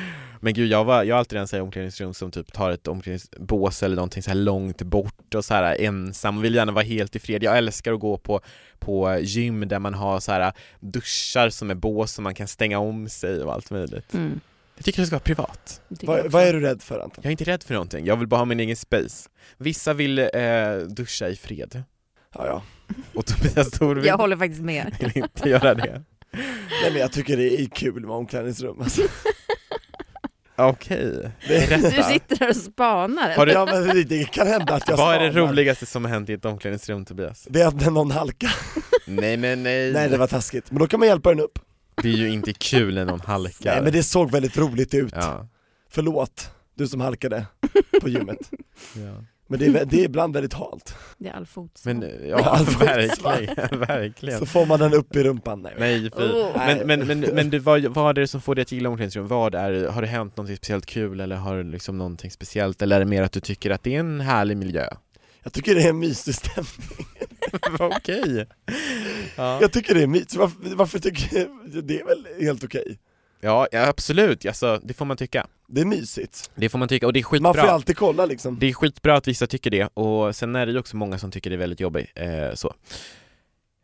Speaker 2: Men gud jag, var, jag har alltid den såhär omklädningsrum som typ tar ett omklädningsbås eller någonting så här långt bort och så här ensam, vill gärna vara helt i fred. Jag älskar att gå på, på gym där man har så här duschar som är bås som man kan stänga om sig och allt möjligt.
Speaker 4: Mm,
Speaker 2: Jag tycker det ska vara privat.
Speaker 4: det tycker jag
Speaker 1: Vad,
Speaker 4: också.
Speaker 1: vad är du rädd för Anton?
Speaker 2: Jag är inte rädd för någonting, jag vill bara ha min egen space. Vissa vill eh, duscha i fred
Speaker 1: Ja, ja.
Speaker 2: och Tobias Torving
Speaker 4: Jag håller faktiskt med.
Speaker 2: vill inte göra det.
Speaker 1: Nej men jag tycker det är kul med omklädningsrum alltså.
Speaker 2: Okej,
Speaker 1: Det är
Speaker 4: Du
Speaker 2: berätta.
Speaker 4: sitter där och spanar.
Speaker 2: Har du-
Speaker 1: Ja men det, det kan hända att jag
Speaker 2: Vad är det
Speaker 1: spanar.
Speaker 2: roligaste som har hänt i ett omklädningsrum Tobias?
Speaker 1: Det är att någon halkar.
Speaker 2: Nej men
Speaker 1: Nej det var taskigt, men då kan man hjälpa den upp.
Speaker 2: Det är ju inte kul när någon halkar.
Speaker 1: Nej men det såg väldigt roligt ut.
Speaker 2: ja.
Speaker 1: Förlåt, du som halkade på gymmet.
Speaker 2: Ja.
Speaker 1: Men det är, vä- det är ibland väldigt halt.
Speaker 4: Det är all fotboll.
Speaker 2: Men ja,
Speaker 1: Alltså,
Speaker 2: verkligen, verkligen.
Speaker 1: Så får man den upp i rumpan. Nej.
Speaker 2: Nej, fy.
Speaker 4: Oh.
Speaker 2: Men, men, men, men du, vad, vad är det som får dig att gilla omklädningsrum? Vad är, det- har det hänt någonting speciellt kul eller har det liksom någonting speciellt eller är det mer att du tycker att det är en härlig miljö?
Speaker 1: Jag tycker det är en mysig stämning.
Speaker 2: Vad Okej! Ja.
Speaker 1: Jag tycker det är mysigt. Varför, varför tycker jag, det är väl helt okej?
Speaker 2: Ja, ja, absolut, alltså, det får man tycka.
Speaker 1: Det är mysigt.
Speaker 2: Det får man tycka och det är skitbra.
Speaker 1: Man får ju alltid kolla liksom.
Speaker 2: Det är skitbra att vissa tycker det och sen är det ju också många som tycker det är väldigt jobbigt. Eh, så.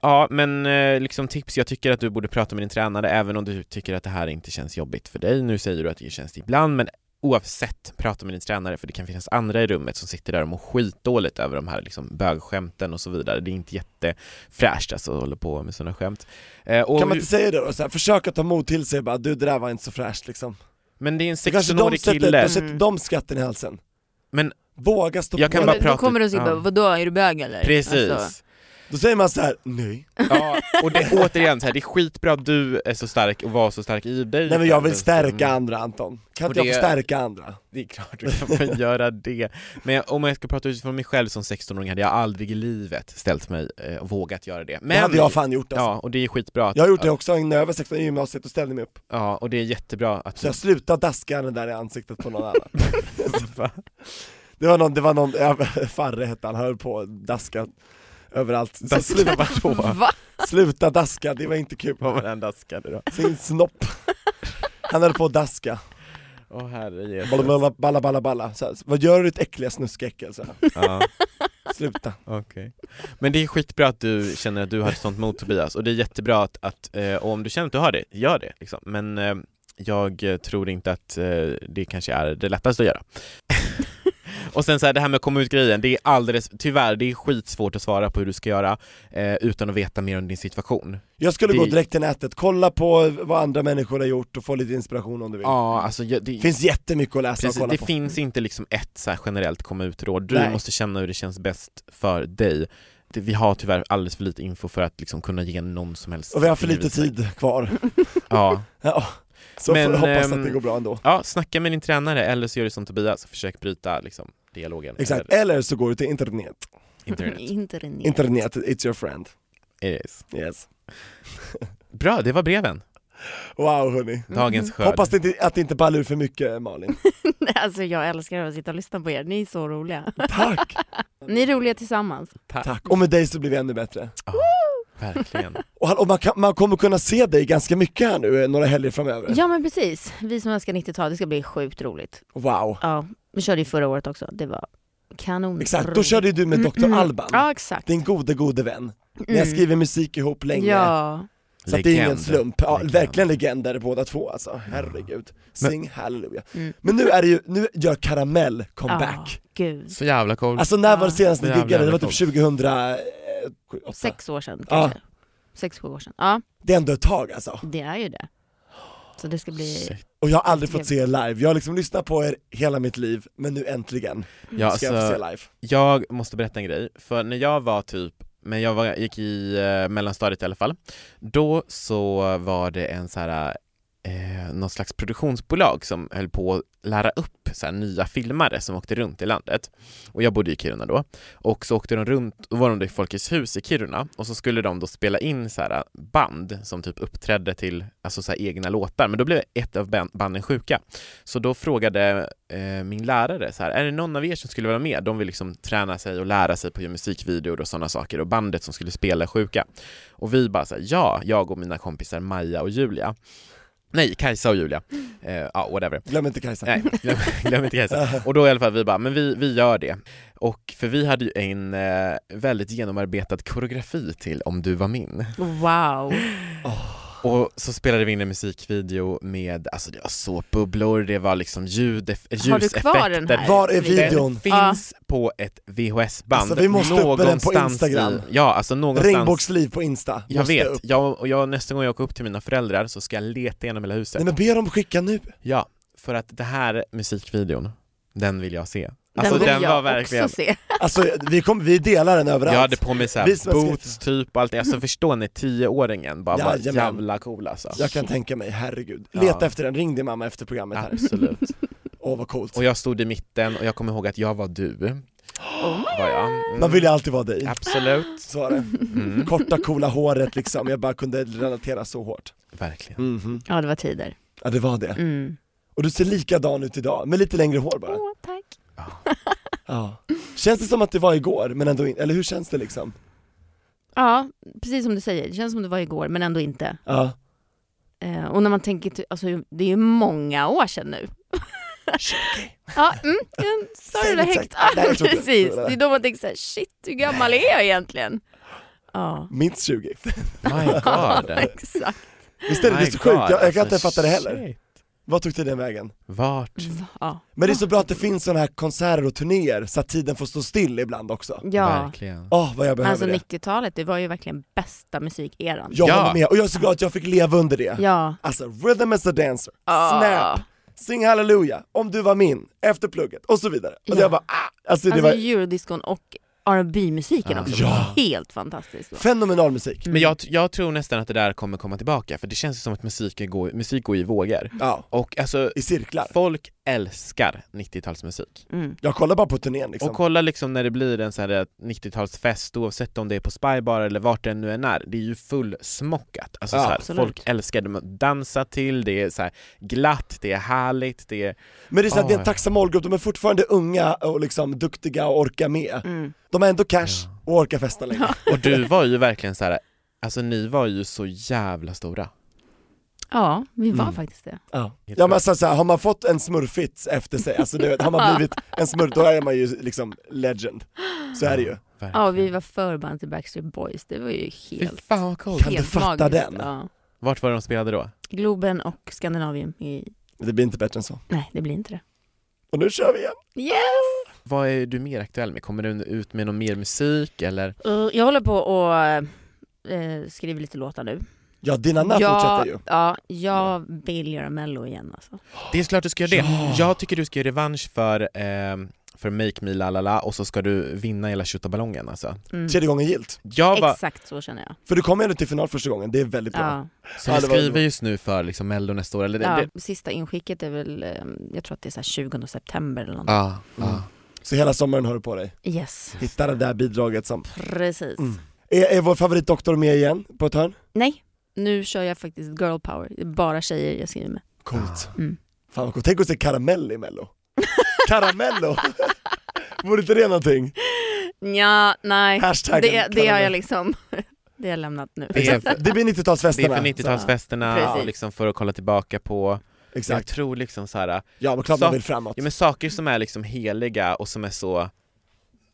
Speaker 2: Ja, men eh, liksom tips, jag tycker att du borde prata med din tränare även om du tycker att det här inte känns jobbigt för dig. Nu säger du att det känns det ibland, men oavsett, prata med din tränare för det kan finnas andra i rummet som sitter där och mår skitdåligt över de här liksom, bögskämten och så vidare. Det är inte jättefräscht alltså att hålla på med sådana skämt. Eh, och
Speaker 1: Kan man inte säga det då? Så här, försök att ta mod till sig bara, du det där var inte så fräscht liksom.
Speaker 2: Men det är en
Speaker 1: Så kanske de
Speaker 2: 16-årig
Speaker 1: sätter, då
Speaker 2: kille.
Speaker 1: sätter de skatten i halsen.
Speaker 2: Men-
Speaker 1: Våga stå
Speaker 2: Jag
Speaker 1: på
Speaker 2: kan
Speaker 1: det.
Speaker 2: bara
Speaker 4: då
Speaker 2: prata-
Speaker 4: kommer du och säger
Speaker 2: ja.
Speaker 4: bara, vadå är du bög eller?
Speaker 2: Precis.
Speaker 4: Alltså,
Speaker 1: Då säger man så här: nej.
Speaker 2: Ja, och det är återigen så här, det är skitbra att du är så stark och var så stark i dig
Speaker 1: Nej men jag vill stärka
Speaker 2: Mm,
Speaker 1: andra Anton. Kan
Speaker 2: Och
Speaker 1: inte jag
Speaker 2: det-
Speaker 1: få stärka andra?
Speaker 2: Det är klart du kan få göra det Men jag, om jag ska prata utifrån mig själv som 16-åring hade jag aldrig i livet ställt mig eh, och vågat göra det
Speaker 1: Det hade jag fan gjort alltså.
Speaker 2: Ja, och det är skitbra att,
Speaker 1: Jag har gjort det också när jag var 16 i gymnasiet, och ställde mig upp.
Speaker 2: Ja, och det är jättebra att
Speaker 1: Så jag slutade daska den där i ansiktet på någon annan.
Speaker 2: Va?
Speaker 1: Det var någon, det var någon, ja, Farre hette han, höll på att daska överallt. Så
Speaker 2: Daska
Speaker 1: sluta,
Speaker 2: vadå?
Speaker 4: Va?
Speaker 1: sluta daska, det var inte kul.
Speaker 2: Vad var den daskade då?
Speaker 1: Sin snopp. Han höll på att daska.
Speaker 2: Åh herre Jesus.
Speaker 1: Balla balla balla balla, balla. Så här, Vad gör du ditt äckliga snuskäckel? Så här.
Speaker 2: Ja.
Speaker 1: Sluta.
Speaker 2: Okej. Men det är skitbra att du känner att du har ett sånt mot Tobias och det är jättebra att, att eh, och om du känner att du har det, gör det liksom. Men eh, jag eh, tror inte att eh, det kanske är det lättaste att göra. och sen så här, det här med att komma ut-grejen, det är alldeles, tyvärr, det är skitsvårt att svara på hur du ska göra eh, utan att veta mer om din situation.
Speaker 1: Jag skulle gå
Speaker 2: Det-
Speaker 1: direkt till nätet, kolla på vad andra människor har gjort och få lite inspiration om du vill.
Speaker 2: Ja, alltså jag- det
Speaker 1: Finns jättemycket att läsa
Speaker 2: Precis,
Speaker 1: och kolla
Speaker 2: det
Speaker 1: på.
Speaker 2: finns inte liksom ett så här generellt komma ut-råd. Du
Speaker 1: Nej.
Speaker 2: måste känna hur det känns bäst för dig. Det, vi har tyvärr alldeles för lite info för att liksom kunna ge någon som helst
Speaker 1: Och vi har för lite
Speaker 2: fingervisning.
Speaker 1: tid kvar.
Speaker 2: Ja.
Speaker 1: Ja. Så
Speaker 2: Men,
Speaker 1: får, hoppas att
Speaker 2: ehm,
Speaker 1: det går bra ändå.
Speaker 2: ja, snacka med din tränare eller så gör du som Tobias, försök bryta liksom, dialogen.
Speaker 1: Exakt,
Speaker 2: Eller
Speaker 1: eller så går du till internet.
Speaker 2: internet.
Speaker 4: Internet.
Speaker 1: Internet, it's your friend.
Speaker 2: It is.
Speaker 1: Yes.
Speaker 2: Bra, det var breven.
Speaker 1: Wow hörni.
Speaker 2: Dagens skörd.
Speaker 1: Mm. Hoppas det inte, att det inte ballar ur för mycket Malin.
Speaker 4: Alltså jag älskar att sitta och lyssna på er, ni är så roliga.
Speaker 1: Tack!
Speaker 4: Ni är roliga tillsammans.
Speaker 1: Tack. Och med dig så blir vi ännu bättre.
Speaker 2: Verkligen.
Speaker 1: Och, hallå, man, kan, man kommer kunna se dig ganska mycket här nu eh, några helger framöver.
Speaker 4: Ja men precis, vi som älskar 90-tal, det ska bli sjukt roligt.
Speaker 1: Wow.
Speaker 4: Ja, vi körde ju förra året också, det var kanon.
Speaker 1: Exakt, då körde ju du med Dr. Alban.
Speaker 4: Mm, Ja exakt.
Speaker 1: Din gode, gode vän. Ni har skrivit musik ihop länge.
Speaker 4: Ja.
Speaker 1: Så att det är ingen
Speaker 2: Legend.
Speaker 1: slump. Ja,
Speaker 2: Legend.
Speaker 1: verkligen legender båda två alltså. Herregud. Sing halleluja.
Speaker 4: Mm.
Speaker 1: Men nu är det ju, nu gör Karamell comeback.
Speaker 4: Ja, gud.
Speaker 2: Så jävla cool.
Speaker 1: Alltså när var det senast ni
Speaker 2: Jävlar,
Speaker 1: giggade? Det var
Speaker 2: jävlar,
Speaker 1: typ 2008.
Speaker 4: Sex år sedan
Speaker 1: Ja.
Speaker 4: kanske. Sex, sju år sedan. Ja,
Speaker 1: Det är ändå ett tag alltså.
Speaker 4: det är ju det. Så det ska bli...
Speaker 2: Shit.
Speaker 1: Och jag har aldrig fått se er live. Jag har liksom lyssnat på er hela mitt liv, men nu äntligen
Speaker 2: Ja,
Speaker 1: ska jag få se
Speaker 2: alltså,
Speaker 1: live.
Speaker 2: jag måste berätta en grej, för när jag var typ men jag var, gick i eh, mellanstadiet i alla fall. Då så var det en så här, eh, någon slags produktionsbolag som höll på att lära upp så här, nya filmare som åkte runt i landet. Och jag bodde i Kiruna då. Och så åkte de runt, då var de i Folkets hus i Kiruna och så skulle de då spela in så här eh, band som typ uppträdde till alltså så här egna låtar. Men då blev ett av ban- banden sjuka. Så då frågade eh, min lärare så här, är det någon av er som skulle vara med? De vill liksom träna sig och lära sig på att göra musikvideor och sådana saker och bandet som skulle spela är sjuka. Och vi bara så här, ja, jag och mina kompisar Maja och Julia. Nej, Kajsa och Julia. Eh, ja, whatever.
Speaker 1: Glöm inte Kajsa.
Speaker 2: Nej, glöm, glöm inte Kajsa. Och då i alla fall vi bara, men vi, vi gör det. Och för vi hade ju en eh, väldigt genomarbetad koreografi till Om du var min.
Speaker 4: Wow.
Speaker 2: Och så spelade vi in en musikvideo med, alltså det var såpbubblor, det var liksom ljud,
Speaker 4: Har du kvar den här?
Speaker 2: ljuseffekter.
Speaker 1: Var är videon?
Speaker 2: Den finns på ett VHS-band
Speaker 1: Alltså, vi måste upp med den på
Speaker 2: någonstans
Speaker 1: Instagram.
Speaker 2: I, ja, alltså någonstans.
Speaker 1: Regnbågsliv på Insta.
Speaker 2: jag
Speaker 1: Måste
Speaker 2: vet,
Speaker 1: upp.
Speaker 2: jag, och jag, nästa gång jag åker upp till mina föräldrar så ska jag leta igenom hela huset.
Speaker 1: Nej men be dem skicka nu.
Speaker 2: Ja, för att det här musikvideon, den vill jag se.
Speaker 4: Den
Speaker 2: Alltså den,
Speaker 4: vill
Speaker 2: var
Speaker 4: jag
Speaker 2: verkligen,
Speaker 4: också se.
Speaker 1: Alltså vi, kom, vi delar den överallt.
Speaker 2: jag hade på mig
Speaker 1: Vi
Speaker 2: såhär
Speaker 1: som har skrivit-
Speaker 2: boots typ och allt det, alltså förstår ni tioåringen bara, bara
Speaker 1: Jajamän.
Speaker 2: jävla cool alltså.
Speaker 1: Jag kan tänka mig, herregud.
Speaker 2: Ja.
Speaker 1: Leta efter den, ring din mamma efter programmet här.
Speaker 2: Absolut.
Speaker 1: Åh vad coolt.
Speaker 2: Och jag stod i mitten och jag kommer ihåg att jag var du. Var jag. Mm.
Speaker 1: Man vill ju alltid vara dig.
Speaker 2: Absolut.
Speaker 1: Så var det.
Speaker 2: Mm.
Speaker 1: Korta coola håret liksom, jag bara kunde relatera så hårt.
Speaker 2: Verkligen.
Speaker 1: Mhm.
Speaker 4: Ja, det var tider.
Speaker 1: Ja det var det.
Speaker 4: Mm.
Speaker 1: Och du ser likadan ut idag, med lite längre hår bara.
Speaker 4: Åh, tack.
Speaker 1: Ja. Känns det som att det var igår, men ändå inte, eller hur känns det liksom?
Speaker 4: Ja, precis som du säger. Det känns som det var igår, men ändå inte.
Speaker 1: Ja.
Speaker 4: Eh, och när man tänker, till- alltså det är ju många år sedan nu. ja, mm, mm, sa du
Speaker 1: Säg
Speaker 4: det
Speaker 1: exakt.
Speaker 4: högt? Ah,
Speaker 1: Nej, jag tror inte.
Speaker 4: precis, det är då man tänker såhär, shit hur gammal är jag egentligen? Ja,
Speaker 1: Minst 20.
Speaker 2: My god.
Speaker 4: exakt.
Speaker 1: Visst är det, det är
Speaker 2: My
Speaker 1: så sjukt, jag, jag
Speaker 2: alltså,
Speaker 1: kan inte fatta det heller.
Speaker 2: shit.
Speaker 1: Vad tog till den vägen?
Speaker 2: Vart?
Speaker 4: Ja,
Speaker 1: Men det är så bra att det finns sådana här konserter och turnéer så att tiden får stå still ibland också.
Speaker 4: ja.
Speaker 2: Verkligen.
Speaker 1: Åh vad jag behöver
Speaker 4: alltså
Speaker 1: det.
Speaker 4: 90-talet, det var ju verkligen bästa musikeran.
Speaker 1: Jag
Speaker 2: Ja.
Speaker 1: håller med, och jag är så glad att jag fick leva under det.
Speaker 4: Ja.
Speaker 1: Alltså, rhythm as a dancer,
Speaker 4: Ah.
Speaker 1: snap, sing hallelujah, om du var min, efter plugget och så vidare. Och
Speaker 4: Ja.
Speaker 1: jag bara, ah! alltså det
Speaker 4: Alltså
Speaker 1: var
Speaker 4: eurodiscon och R&B-musiken också,
Speaker 1: Ja.
Speaker 4: var helt fantastiskt.
Speaker 1: fenomenal musik.
Speaker 2: Men jag, jag tror nästan att det där kommer komma tillbaka, för det känns ju som att musik går, musik går i vågor.
Speaker 1: Ja,
Speaker 2: Och alltså,
Speaker 1: i cirklar.
Speaker 2: folk älskar 90-talsmusik.
Speaker 4: Mm.
Speaker 1: Jag kollar bara på turnén liksom.
Speaker 2: Och kolla liksom när det blir en sån här 90-talsfest, oavsett om det är på Spybar eller vart det än nu än är, det är ju fullsmockat. Alltså
Speaker 1: Ja,
Speaker 2: så här,
Speaker 4: absolut.
Speaker 2: folk älskar det, man dansar till, det är så här glatt, det är härligt, det är...
Speaker 1: Men det är, så att det är en
Speaker 2: Ah.
Speaker 1: tacksam målgrupp, de är fortfarande unga och liksom duktiga och orkar med. De har ändå cash och orkar festa länge.
Speaker 2: Och du var ju verkligen så här. alltså ni var ju så jävla stora.
Speaker 4: Ja, vi var
Speaker 1: Mm.
Speaker 4: faktiskt det.
Speaker 1: Ja, ja men så, så här, har man fått en smurfits efter sig, alltså du vet, har man blivit en smurf, då är man ju liksom legend. Så är det ju.
Speaker 4: Ja, vi var förband till Backstreet Boys. Det var ju helt,
Speaker 2: fan vad
Speaker 1: Kan du fatta den?
Speaker 4: Ja.
Speaker 2: Vart var det de spelade då?
Speaker 4: Globen och Skandinavium. I...
Speaker 1: Det blir inte bättre än så.
Speaker 4: Nej, det blir inte det.
Speaker 1: Och nu kör vi igen.
Speaker 4: Yes!
Speaker 2: Vad är du mer aktuell med? Kommer du ut med någon mer musik eller?
Speaker 4: Eh, Jag håller på och eh, skriver lite låtar nu.
Speaker 1: Ja, din Anna
Speaker 4: jag,
Speaker 1: fortsätter ju.
Speaker 4: Ja, jag vill göra mello igen alltså.
Speaker 2: Det är klart du ska göra det. Jag tycker du ska göra revansch för, ehm, för Make Me La La La och så ska du vinna hela tjottaballongen alltså.
Speaker 4: Mm.
Speaker 1: Tredje gången gilt.
Speaker 2: Jag var,
Speaker 4: Exakt så känner jag.
Speaker 1: För du kom ju ändå till final första gången, det är väldigt bra.
Speaker 4: Ja.
Speaker 2: så
Speaker 1: Ja,
Speaker 2: vi
Speaker 1: det var-
Speaker 2: skriver just nu för liksom Mello nästa år, eller det,
Speaker 4: Ja,
Speaker 2: det,
Speaker 4: sista inskicket är väl, eh, jag tror att det är så här 20 september eller något.
Speaker 2: ja, ja.
Speaker 1: Så hela sommaren har du på dig.
Speaker 4: Yes,
Speaker 1: Hitta det där bidraget som...
Speaker 4: precis.
Speaker 1: Mm. Är, är vår favoritdoktor med igen på ett hörn?
Speaker 4: Nej, nu kör jag faktiskt girl power. Det är bara tjejer jag skriver med.
Speaker 1: Coolt.
Speaker 4: Mm.
Speaker 1: Fan vad coolt, tänk att se karamell i mello. Karamello! Vore inte det någonting?
Speaker 4: Ja, nej.
Speaker 1: Hashtaggen
Speaker 4: Det, det har
Speaker 1: karamell.
Speaker 4: jag liksom, det har jag lämnat nu.
Speaker 2: Det är för-
Speaker 1: Det blir
Speaker 2: Det
Speaker 1: 90-talsfesterna.
Speaker 2: är för
Speaker 1: Så-
Speaker 2: 90-talsfesterna
Speaker 4: Precis.
Speaker 2: och liksom för att kolla tillbaka på, jag
Speaker 1: Exakt.
Speaker 2: tror liksom så här,
Speaker 1: Ja men klart
Speaker 2: Så-
Speaker 1: man vill framåt.
Speaker 2: ja, men saker som är liksom heliga och som är så,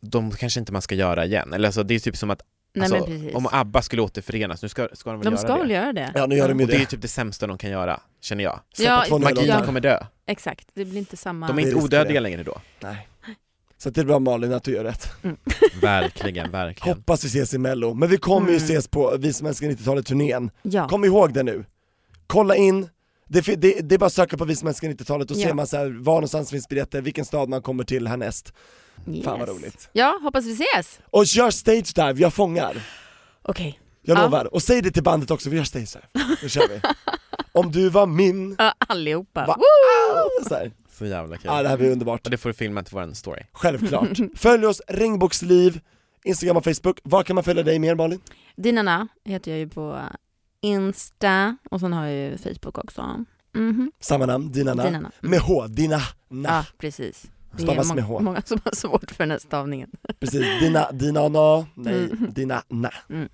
Speaker 2: de kanske inte man ska göra igen. Eller alltså, det är typ som att
Speaker 4: Nej, men
Speaker 2: alltså,
Speaker 4: precis.
Speaker 2: om ABBA skulle återförenas, nu ska, ska de väl
Speaker 4: De
Speaker 2: göra
Speaker 4: ska
Speaker 2: det?
Speaker 4: väl göra det?
Speaker 1: Ja nu gör de ju
Speaker 2: Och det är ju
Speaker 1: det.
Speaker 2: typ det sämsta de kan göra, känner jag.
Speaker 1: Släppa
Speaker 4: Ja,
Speaker 1: två nya
Speaker 2: Magin
Speaker 1: låtar.
Speaker 2: kommer dö.
Speaker 4: Exakt, det blir inte samma.
Speaker 2: De är
Speaker 1: det
Speaker 2: inte
Speaker 1: riskerar
Speaker 2: odödliga
Speaker 1: jag.
Speaker 2: längre då.
Speaker 1: Nej. Så det är bra Malin att du gör rätt.
Speaker 2: Verkligen, verkligen.
Speaker 1: Hoppas vi ses i mello, men vi kommer ju
Speaker 4: Mm.
Speaker 1: ses på Vi som älskar 90-talet turnén.
Speaker 4: Ja.
Speaker 1: Kom ihåg det nu. Kolla in, det, fi- det, det är bara att söka på Vi som älskar 90-talet och
Speaker 4: Ja.
Speaker 1: ser man så här, var någonstans finns biljetter, vilken stad man kommer till härnäst.
Speaker 4: yes.
Speaker 1: Fan vad roligt.
Speaker 4: Ja, hoppas vi ses.
Speaker 1: Och gör stage dive, jag fångar.
Speaker 4: Okej.
Speaker 1: Jag
Speaker 4: Ja.
Speaker 1: lovar. Och säg det till bandet också, vi gör stage dive. Nu kör vi. Om du var min.
Speaker 4: Ja, allihopa.
Speaker 1: Va-
Speaker 4: Woo!
Speaker 1: Så här.
Speaker 2: Så jävla kul.
Speaker 1: Ja, det här blir underbart.
Speaker 2: Och det får du filma till våran story.
Speaker 1: Självklart. Följ oss, Regnbågsliv, Instagram och Facebook. Var kan man följa dig mer Malin?
Speaker 4: Dinana heter jag ju på Insta och sen har jag ju Facebook också. Mhm.
Speaker 1: Samma namn, Dinana.
Speaker 4: Dinana. Mm.
Speaker 1: Med H, Dina, na.
Speaker 4: Ja, precis. Det är
Speaker 1: Stavas
Speaker 4: många,
Speaker 1: med H.
Speaker 4: många som har svårt för den här stavningen.
Speaker 1: Precis, Dina, Dina, na. Nej,
Speaker 4: Mm.
Speaker 1: Dina, na.
Speaker 4: Mm.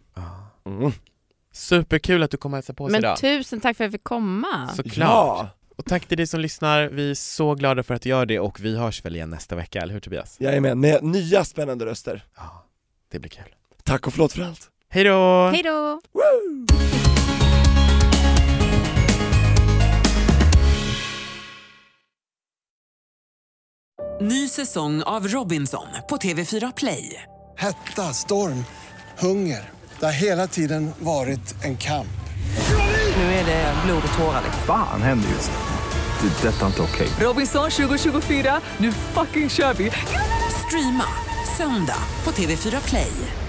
Speaker 1: Mm.
Speaker 2: Superkul att du kom och hälsade på oss
Speaker 4: Men
Speaker 2: idag.
Speaker 4: tusen tack för att jag fick komma.
Speaker 2: Såklart.
Speaker 1: Ja,
Speaker 2: Och tack till dig som lyssnar, vi är så glada för att du gör det och vi hörs väl igen nästa vecka, eller hur Tobias?
Speaker 1: jag är med. Med nya spännande röster.
Speaker 2: Ja, det blir kul.
Speaker 1: Tack och förlåt för allt.
Speaker 2: Hej då!
Speaker 4: Hej då!
Speaker 1: Woo!
Speaker 5: Ny säsong av Robinson på TV4 Play.
Speaker 6: Hetta, storm, hunger. Det har hela tiden varit en kamp.
Speaker 5: Nu är det blod och tårar. liksom.
Speaker 7: Fan händer just det. Det är detta inte okej.
Speaker 5: Robinson 2024, nu fucking kör vi! Streama söndag på TV4 Play.